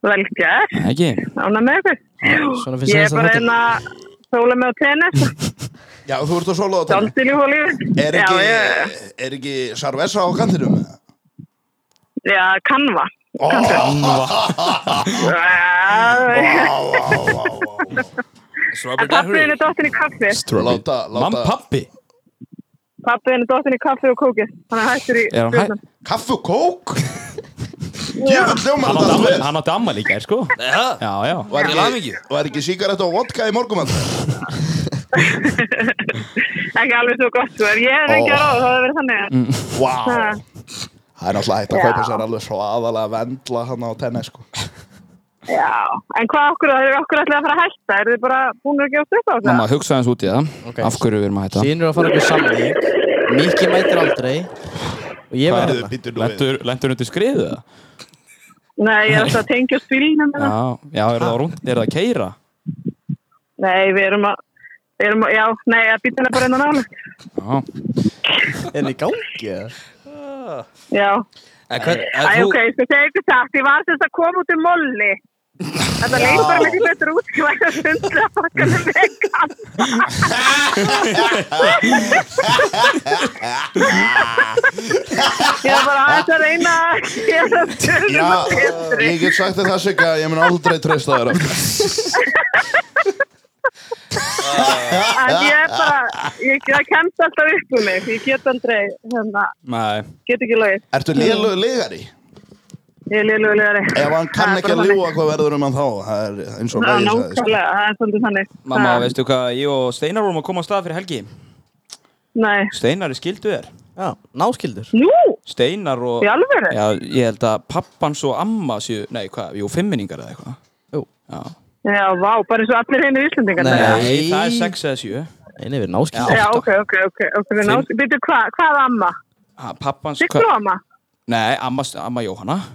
Speaker 14: Vel gert
Speaker 4: Ekki
Speaker 14: Ána með ykkur
Speaker 4: Svona finnst
Speaker 14: Ég
Speaker 4: þér
Speaker 14: er
Speaker 4: þess að
Speaker 14: bara
Speaker 4: þetta-
Speaker 14: einn að sóla mig á tennis
Speaker 3: Já, þú ert að svolga á tennis
Speaker 14: Daldil í hólífi
Speaker 3: Er
Speaker 14: Já, ég-
Speaker 3: ekki, er ekki Sarvessa á kantinum?
Speaker 14: já, kanva En pappiðin er dottin í kaffi
Speaker 3: Láta, láta Mamma,
Speaker 4: pappi
Speaker 14: Pappiðin er dottin í kaffi og kóki Hann er hættur í stjórnum.
Speaker 3: Kaffi og kók?
Speaker 14: Já.
Speaker 3: Jöfn hljómar
Speaker 4: Hann
Speaker 3: þetta allt
Speaker 4: átti ammæli-
Speaker 3: vel.
Speaker 4: hann átti ammæli í gær sko
Speaker 5: Já,
Speaker 4: já
Speaker 3: Var
Speaker 4: Til
Speaker 3: ekki, var ekki sigarett og vodka í morgum
Speaker 14: Ekki alveg svo gott sko, ef Ég hef
Speaker 3: Ó.
Speaker 14: ekki að ráða, það hefur verið þannig
Speaker 3: Vá
Speaker 14: Ha.
Speaker 3: Það er náttúrulega hægt að
Speaker 14: Já.
Speaker 3: kaupa sér alveg svo aðalega vendla hann á tennis sko
Speaker 14: Já, en hvað okkur, það er okkur allir að fara að hætta Er þið bara búin að gefa upp á
Speaker 4: Mamma,
Speaker 14: það?
Speaker 4: hugsa aðeins út í það Af hverju við erum að hætta
Speaker 1: Sýnir að fara upp í samling Mikki mætir aldrei Og ég
Speaker 4: Hvað-
Speaker 1: verður
Speaker 4: Lentur, lentur undir skriðu það?
Speaker 14: Nei, ég er alltaf að tengja hérna. spilnum
Speaker 4: Já, já, er það, rúnd, er það að keira?
Speaker 14: Nei, við erum að Við erum að, já, nei, að bílinn er bara enn að nála
Speaker 4: Já
Speaker 1: En í gangi eða?
Speaker 14: Já
Speaker 5: En hvern, en
Speaker 14: Æ,
Speaker 5: þú,
Speaker 14: ok, ég skal segja ykkur satt, ég var semst að koma út um molli. Þetta leit bara mikið betur út, ég var að sundla fokkanum vegan. Ég var bara aðeins að reyna að
Speaker 3: Já,
Speaker 14: gera
Speaker 3: eh,
Speaker 14: sundla betri.
Speaker 3: ég get sagt þér það sig að ég mun aldrei treysta þér aftur
Speaker 14: En ég er bara, ég, það kemst alltaf upp um mig, ég get aldrei, hérna,
Speaker 4: Nei
Speaker 14: get ekki logið.
Speaker 3: Ertu lélugur legari?
Speaker 14: Ég er liðluglegari.
Speaker 3: Ef hann kann ekki að ljúa hvað verður um hann þá Það er eins og
Speaker 14: Það er
Speaker 3: bæði sagði sko.
Speaker 14: nákvæmlega, það er svolítið þannig.
Speaker 4: Mamma,
Speaker 14: Það-
Speaker 4: veistu hvað, ég og Steinar vorum að koma á stað fyrir helgi
Speaker 14: Nei,
Speaker 4: Steinar er skildu þér
Speaker 1: Já, náskildur
Speaker 14: nú,
Speaker 4: Steinar og
Speaker 14: í alvöru?
Speaker 4: Já, ég held að pappans og amma séu, nei, hvað, jú, fimminningar eða eitthvað
Speaker 1: Jú
Speaker 4: Já
Speaker 14: Já, vá, bara eins og allir hinir Íslandingar.
Speaker 4: Nei, það er sex eða sjö
Speaker 1: Nei, við erum náskildur
Speaker 14: Já, ok, ok, ok, ok, við náum, býttu hvað, hvað amma?
Speaker 4: Ha, Pappans,
Speaker 14: Sigrú amma?
Speaker 4: Nei, amma, amma Jóhanna
Speaker 5: Ah,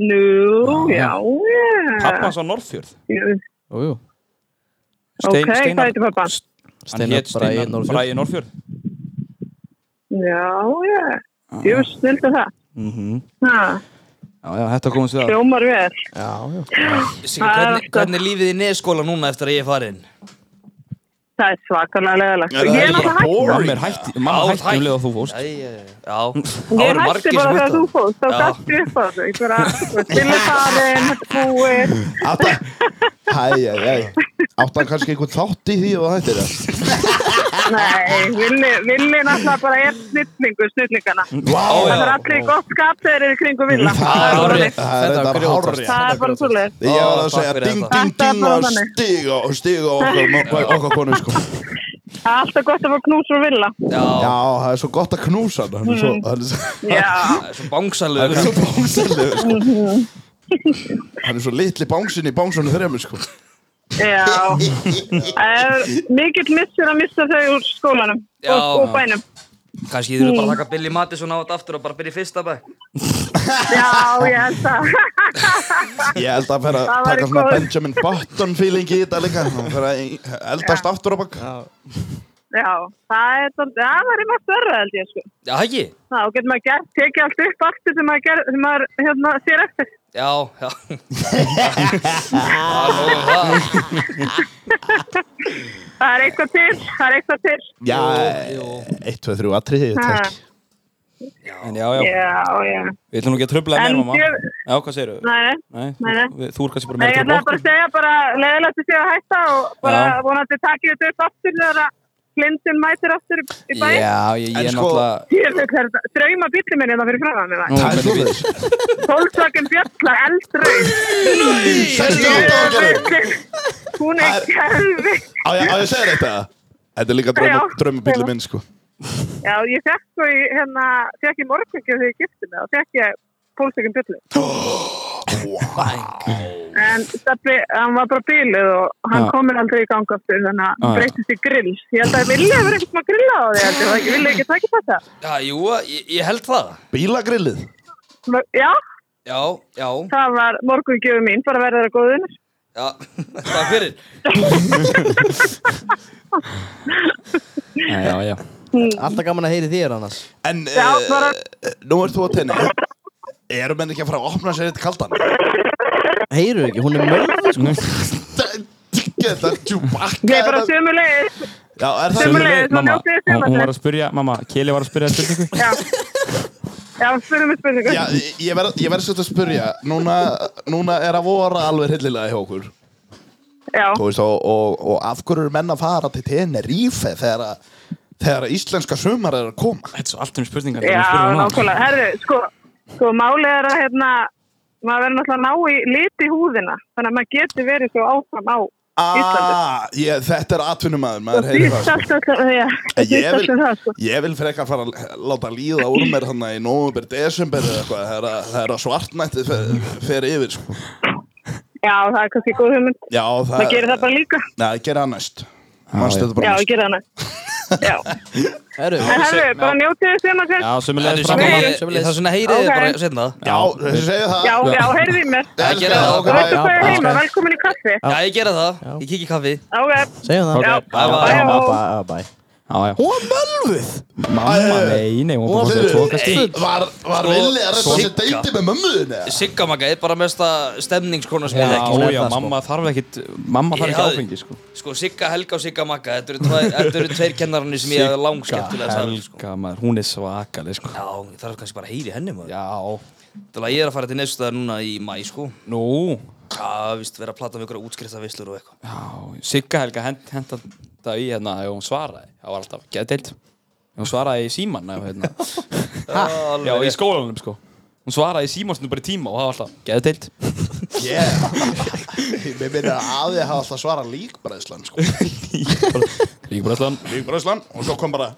Speaker 14: Nú, já, já.
Speaker 4: Pappans á Norrfjörð
Speaker 1: Jú, jú
Speaker 14: Ok,
Speaker 4: Stein- Steinar-
Speaker 14: hvað heitir pappan?
Speaker 4: Hann
Speaker 1: Steinar
Speaker 4: hét
Speaker 1: Bragi
Speaker 4: Steinar
Speaker 1: Norðfjörð.
Speaker 4: Bræði Norrfjörð
Speaker 14: Já, já,
Speaker 5: Ah,
Speaker 14: jú, snildu það.
Speaker 4: Mhm.
Speaker 14: Ha,
Speaker 4: Já, já, þetta komum við að
Speaker 14: Hljómar vel.
Speaker 1: Já, já
Speaker 5: Siggi, hvernig, hvernig er lífið í neðskóla núna eftir að ég er farin?
Speaker 14: Það er svakalega leðilegt.
Speaker 5: Já, það
Speaker 14: Ég
Speaker 5: er
Speaker 14: er náttúrulega hægt.
Speaker 4: Mamma er hætti, mamma hætti um leið að þú fórst
Speaker 5: Já, það
Speaker 14: Ég
Speaker 5: eru
Speaker 14: hætti
Speaker 5: margir
Speaker 14: bara
Speaker 5: sem
Speaker 14: þegar þú
Speaker 5: vita
Speaker 14: fóðst, þá
Speaker 5: Já.
Speaker 14: gafst ég upp á þessu. Ég bara, stille farin, búið.
Speaker 3: Æ, æ, æ Áttan kannski einhvern þátt í því og það hættir það
Speaker 14: Nei, villi, villi náttúrulega bara er snillingu, snillingana.
Speaker 3: Vá,
Speaker 14: Það er
Speaker 3: já.
Speaker 14: allir í gott skap þegar þeir eru í kringum villa.
Speaker 3: Það er hárrétt. Það er
Speaker 14: bara
Speaker 3: reyndar hárrétt.
Speaker 14: Það er bara svolítið.
Speaker 3: Ég var
Speaker 14: Ó,
Speaker 3: að
Speaker 14: takk
Speaker 3: segja
Speaker 14: fyrir
Speaker 3: ding,
Speaker 14: þetta.
Speaker 3: ding,
Speaker 14: Þetta er
Speaker 3: ding
Speaker 14: bara
Speaker 3: og
Speaker 14: þannig.
Speaker 3: stig og stig og okkar, okkar konu sko
Speaker 14: Það Það er alltaf gott að fá knús og vilja.
Speaker 3: Já. það er svo gott að knúsa hann, hann er svo,
Speaker 14: Mm.
Speaker 3: hann er svo,
Speaker 14: Já.
Speaker 3: hann er svo bángsalegur. Hann er svo bángsalegur, sko.
Speaker 14: Mhm. Mm-hmm.
Speaker 3: Hann er svo litli bángsin í bángsunum þremur, sko.
Speaker 14: Já. Það er mikill missur að missa þau úr skólanum
Speaker 5: Já.
Speaker 14: og, og bænum.
Speaker 5: Kanski þurfum bara
Speaker 14: Mm.
Speaker 5: að taka Billy Madison á þetta aftur og bara byrja í fyrsta bæ
Speaker 14: Já, ég held það.
Speaker 3: Ég held að fyrir að
Speaker 14: Það væri
Speaker 3: taka svona
Speaker 14: góð.
Speaker 3: Benjamin Button feeling í þetta líka, hann fyrir að eldast aftur á bakk.
Speaker 14: Já, það er svolítið, það væri margt verða held ég, sko.
Speaker 5: Já, ekki?
Speaker 14: Já, og getur maður gert, tekið allt upp aftur sem maður, ger, sem maður hérna, sér eftir.
Speaker 5: Já, já Já, nú er það.
Speaker 14: Það er eitthvað til, það er eitthvað til.
Speaker 3: Já, eh, 1, 2, 3, atriði, takk.
Speaker 11: En já,
Speaker 14: Já,
Speaker 11: já,
Speaker 14: já.
Speaker 11: við ætlum nú ekki að tröfla
Speaker 14: En
Speaker 11: meira, mamma
Speaker 14: ég-
Speaker 11: Já, hvað segir þú?
Speaker 14: Nei,
Speaker 11: Nei,
Speaker 14: nei, nei.
Speaker 11: þú- þú er kannski bara
Speaker 14: Nei, ég
Speaker 11: meira að
Speaker 14: ætlaði
Speaker 11: tröfla
Speaker 14: bara að segja bara leiðilegt að séu að hætta og bara
Speaker 11: Já.
Speaker 14: vonandi takið þetta upp aftur þegar að Clinton mætir aftur í bæ.
Speaker 11: Já, ég, ég
Speaker 14: En
Speaker 11: er
Speaker 14: sko-
Speaker 11: náttúrulega
Speaker 14: Djöfull er þetta, drauma bíllinn minn er það fyrir framann með
Speaker 11: Nú,
Speaker 14: það.
Speaker 11: hvernig bíll?
Speaker 14: Volkswagen Bjalla, eldraun.
Speaker 3: 68 ára
Speaker 14: Hún er kæfi.
Speaker 3: Á ég á ég að segja þetta? Þetta er líka
Speaker 14: Já.
Speaker 3: draumabíli minn, sko.
Speaker 14: Já, ég fekk svo í, hérna, fekk í morgengju þegar ég gifti mig og fekk ég Volkswagen Bjalla. En Steppi, hann var bara bíluð og hann
Speaker 12: Já.
Speaker 14: komur aldrei í gang aftur þannig að
Speaker 12: Já,
Speaker 14: hann
Speaker 12: já.
Speaker 14: breytist í grill. Ég held að Vilja hefur ekkert maður grilla á því, held ég, var ekki Vilja ekki takið þetta.
Speaker 5: Já, jú, ég, ég held það
Speaker 3: Bílagrillið?
Speaker 14: Já,
Speaker 5: Já, já,
Speaker 14: það var morgungjöfu mín, bara verður að góða unnur.
Speaker 5: já Takk fyrir
Speaker 6: Já, já, já
Speaker 1: Alltaf gaman að heyri þér annars
Speaker 3: En
Speaker 1: Já,
Speaker 3: eh,
Speaker 1: bara-
Speaker 3: nú ert þú að tenni Eru menn ekki að fara að opna sér eitt kaldan?
Speaker 1: Heyru ekki, hún er mörg sko.
Speaker 3: Þetta er tjúbakka
Speaker 14: Nei, bara sömu leið.
Speaker 3: Já, er
Speaker 14: það- Sömuleiðis, og
Speaker 4: mamma,
Speaker 14: njótið þið
Speaker 4: hún, hún
Speaker 14: sumarsins.
Speaker 4: var að spyrja, mamma, Keli var að spyrja spurningu
Speaker 14: Já, já spurðum við spurningu.
Speaker 3: Já, ég- ég verð ég verð svolítið að spyrja núna, núna er að vora alveg hryllilega hjá okkur
Speaker 14: Já.
Speaker 3: Þú veist, og, og, og af hverju eru menn að fara til Tenerife þegar að þegar að íslenska sumar er að koma
Speaker 11: Þetta er svo allt um spurningar
Speaker 14: Já,
Speaker 4: um
Speaker 14: nákvæmlega. Herru, sko, sko, málið er að, hérna, maður verður náttúrulega að ná í liti húðina, þannig að maður getur verið svo áfram á Íslandi.
Speaker 3: ah, ég, Þetta er atvinnumæður, maður heyrir það
Speaker 14: Dýrt
Speaker 3: sko.
Speaker 14: allt alltaf, já.
Speaker 3: En Ég
Speaker 14: dýrt allt um
Speaker 3: vil,
Speaker 14: það, sko.
Speaker 3: ég vil frekar fara að láta líða úr mér þannig í november, desember eða eitthvað, það er að- það er að svartnætti fer, fer yfir sko.
Speaker 14: Já, það er kannski góð hugmynd.
Speaker 3: Já, það
Speaker 14: Maður gerir það bara líka.
Speaker 3: Nei, það gerir það næst Manstu þetta
Speaker 14: Já,
Speaker 3: bara
Speaker 14: ég
Speaker 3: næst
Speaker 14: gerir það næst.
Speaker 1: Herru,
Speaker 14: En herru, bara njótið þið sem að
Speaker 5: Já,
Speaker 3: sömuleiðis,
Speaker 5: Það
Speaker 3: mamma.
Speaker 5: er svona heyrið þið
Speaker 14: Ok.
Speaker 5: bara setna
Speaker 3: Já, þessi segja
Speaker 14: Já, já, heyrðu í mér.
Speaker 5: Já, ég gera það
Speaker 14: Þú veist að það er
Speaker 5: Já,
Speaker 14: heima, velkomin í kaffi.
Speaker 5: ég gera það, ég kikki kaffi
Speaker 14: Ok.
Speaker 1: Segjum
Speaker 5: það.
Speaker 14: Já.
Speaker 5: Ok, bye, bye.
Speaker 14: Bye, bye.
Speaker 1: bye
Speaker 4: Já, já
Speaker 1: Hún var mölvuð
Speaker 4: Mamma, nei, nei, hún var bara að tóka stíl
Speaker 3: Var, var
Speaker 5: Sko,
Speaker 3: villið að reyta sér
Speaker 5: Sigga.
Speaker 3: deyti með mömmuðinni?
Speaker 5: Sigga Magga er bara mesta stemningskona sem
Speaker 4: Já,
Speaker 5: ég þekki
Speaker 4: já,
Speaker 11: sko.
Speaker 4: mamma þarf ekkit Mamma þarf
Speaker 5: Ég
Speaker 4: ekki
Speaker 5: hafði-
Speaker 4: áfengi, sko
Speaker 5: Sko, Sigga Helga og Sigga Magga, þetta eru tvær- þetta eru tveir kennararnir sem ég hafði langskemmtilega
Speaker 4: Sigga,
Speaker 5: saman
Speaker 11: sko.
Speaker 4: Helga, maður, hún er svakaleg, sko
Speaker 5: Já, ég þarf kannski bara að heyri henni maður
Speaker 4: Já
Speaker 5: Þannig að ég er að fara til nefnstaðar núna í mæ sko
Speaker 4: Nú
Speaker 5: Já, víst, vera að plata með ykkur útskriftavislur og eitthvað
Speaker 4: Já, Sigga Helga hent, hent þetta í hérna og hún svaraði, það var alltaf geðdeilt hún svaraði í síman hérna. já, í skólanum sko hún svaraði í símansinu bara í tíma og það var alltaf geðdeilt
Speaker 3: Mér minnir að aðið hafa alltaf svarað líkbræðslan sko.
Speaker 4: Líkbræðslan
Speaker 3: Líkbræðslan og svo kom bara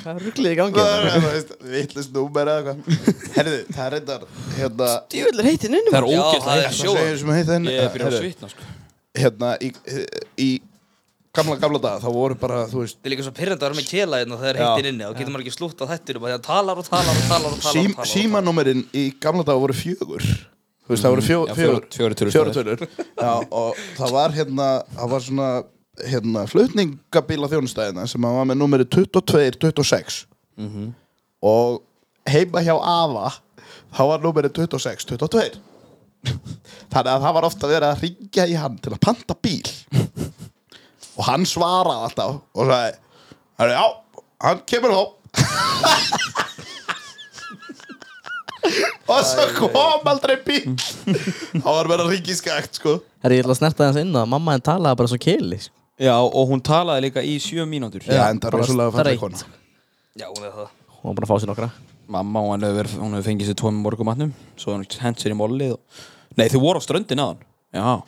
Speaker 1: Það er rugglið í gangi
Speaker 3: Vittlust númer eða eitthvað Herðu, það er reyndar hérna,
Speaker 1: Djöfull er heitt hérna inni, maður. Það er ógeðslega heitt.
Speaker 3: Hvað segir sem heitt henni?
Speaker 1: Ég er fyrir að
Speaker 3: Heyrðu,
Speaker 1: svitna, sko.
Speaker 3: Hérna, í, í gamla, gamla dag þá voru bara, þú veist
Speaker 5: Það er líka svo pyrrandi að vera með kela hérna
Speaker 3: Já.
Speaker 5: þegar heitir inni og getur maður ekki slútt á þettinum og það talar og talar og talar og talar,
Speaker 3: Sím,
Speaker 5: og talar.
Speaker 3: símanúmerinn í gamla dag voru fjögur þú veist það voru fjó,
Speaker 4: Já,
Speaker 3: fjögur
Speaker 4: fjórar- fjórar tölur.
Speaker 3: fjórar tölur. Já, og það var hérna það var svona hérna, flutningabíla þjónustæðina sem að var með númeri 22, 26 Mhm. og heima hjá Ava þá var númeri 26, 22 þannig að það var ofta verið að ringja í hann til að panta bíl og hann svaraði alltaf og sagði "Herra, já, hann kemur þá og svo kom aldrei bíl þá var verið að ringja í skakt sko
Speaker 1: Herru, ég ætla að snerta þess inn að mamma henn talaði bara svo keli sko.
Speaker 4: já, og hún talaði líka í sjö mínútur
Speaker 1: Já, Já, enda bara rosalega falleg streitt.
Speaker 4: kona
Speaker 5: Já, hún er það
Speaker 1: Hún var bara að fá sér nokkra
Speaker 4: mamma, hún hefur verið- hún hefur fengið sér tvo með morgumatnum svo hefur hún hent sér í mollið og... nei, þau voru á ströndin aðan já,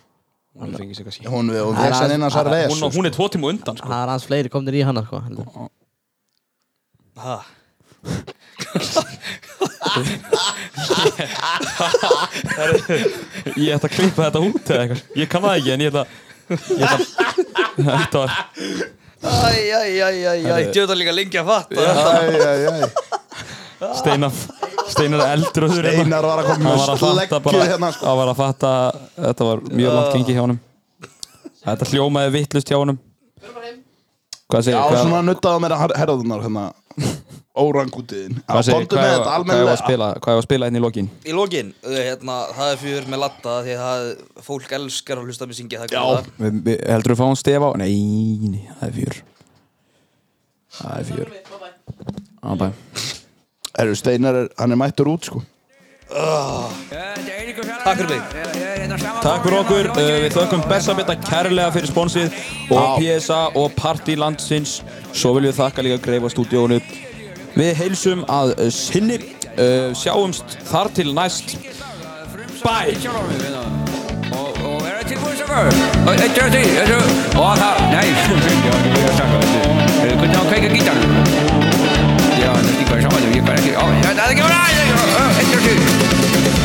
Speaker 15: Hún fengið sér eitthvað síma.
Speaker 3: Hún- hún fékk sér innan Sarvesu,
Speaker 15: Hún- Hún er tvo tíma undan sko.
Speaker 1: Það er aðeins fleiri komnir í hana sko heldur.
Speaker 15: Ha.
Speaker 4: Ég ætla að klippa þetta út eða eitthvað Ég kann það ekki en ég ætla Ég ætla Þetta var
Speaker 5: Æj, æj, æj, æj, æj,
Speaker 4: Herðu.
Speaker 5: djóta líka lengi að fatta
Speaker 3: Æ, æ, æ.
Speaker 4: Steinar Steinar er eldur og þurr hérna.
Speaker 3: Steinar var að koma með
Speaker 4: Hann var að fatta
Speaker 3: sleggju
Speaker 4: bara-
Speaker 3: hérna,
Speaker 4: Hann var að fatta Þetta var mjög langt gengi hjá honum Þetta hljómaði vittlust hjá honum Hvað segir
Speaker 3: Já,
Speaker 4: hvað-
Speaker 3: svona nuttaðu mér að herðunar hérna Órangútiðin Já,
Speaker 4: Hvað segir
Speaker 3: komdu með þetta
Speaker 4: Hvað ég var að
Speaker 3: almennilega
Speaker 4: spila Hvað ég var að spila hérna í lokin
Speaker 5: Í lokin, uh, hérna, það er fyrir með latta því að það- fólk elskar að hlusta mig syngja það Já,
Speaker 4: Við- við- Heldur þú að fá hún stefa á? Nei, nei, það er fjör Það er fjör Bye bye
Speaker 3: Eru Steinar, er- hann er mættur út sko
Speaker 5: Takk fyrir mig
Speaker 4: Takk fyrir okkur, uh, við þökkum Bessabetta kærlega fyrir sponsið og PSA og Parti landsins svo viljum við þakka líka Greifa stúdíónu Við heilsum að uh, sinni uh, sjáumst þar til næst Bye
Speaker 16: Og, og er það tilbúin sem fyrr? Og eitt, tjóð, því, þessu Og það, nei, ég var ekki að taka þessu Eh, Hvernig á að kveika gítarinn? Já, það stingur saman, ég kann ekki Ó, já, það er ekki að vera, það er ekki að vera Eitt, tjóð, því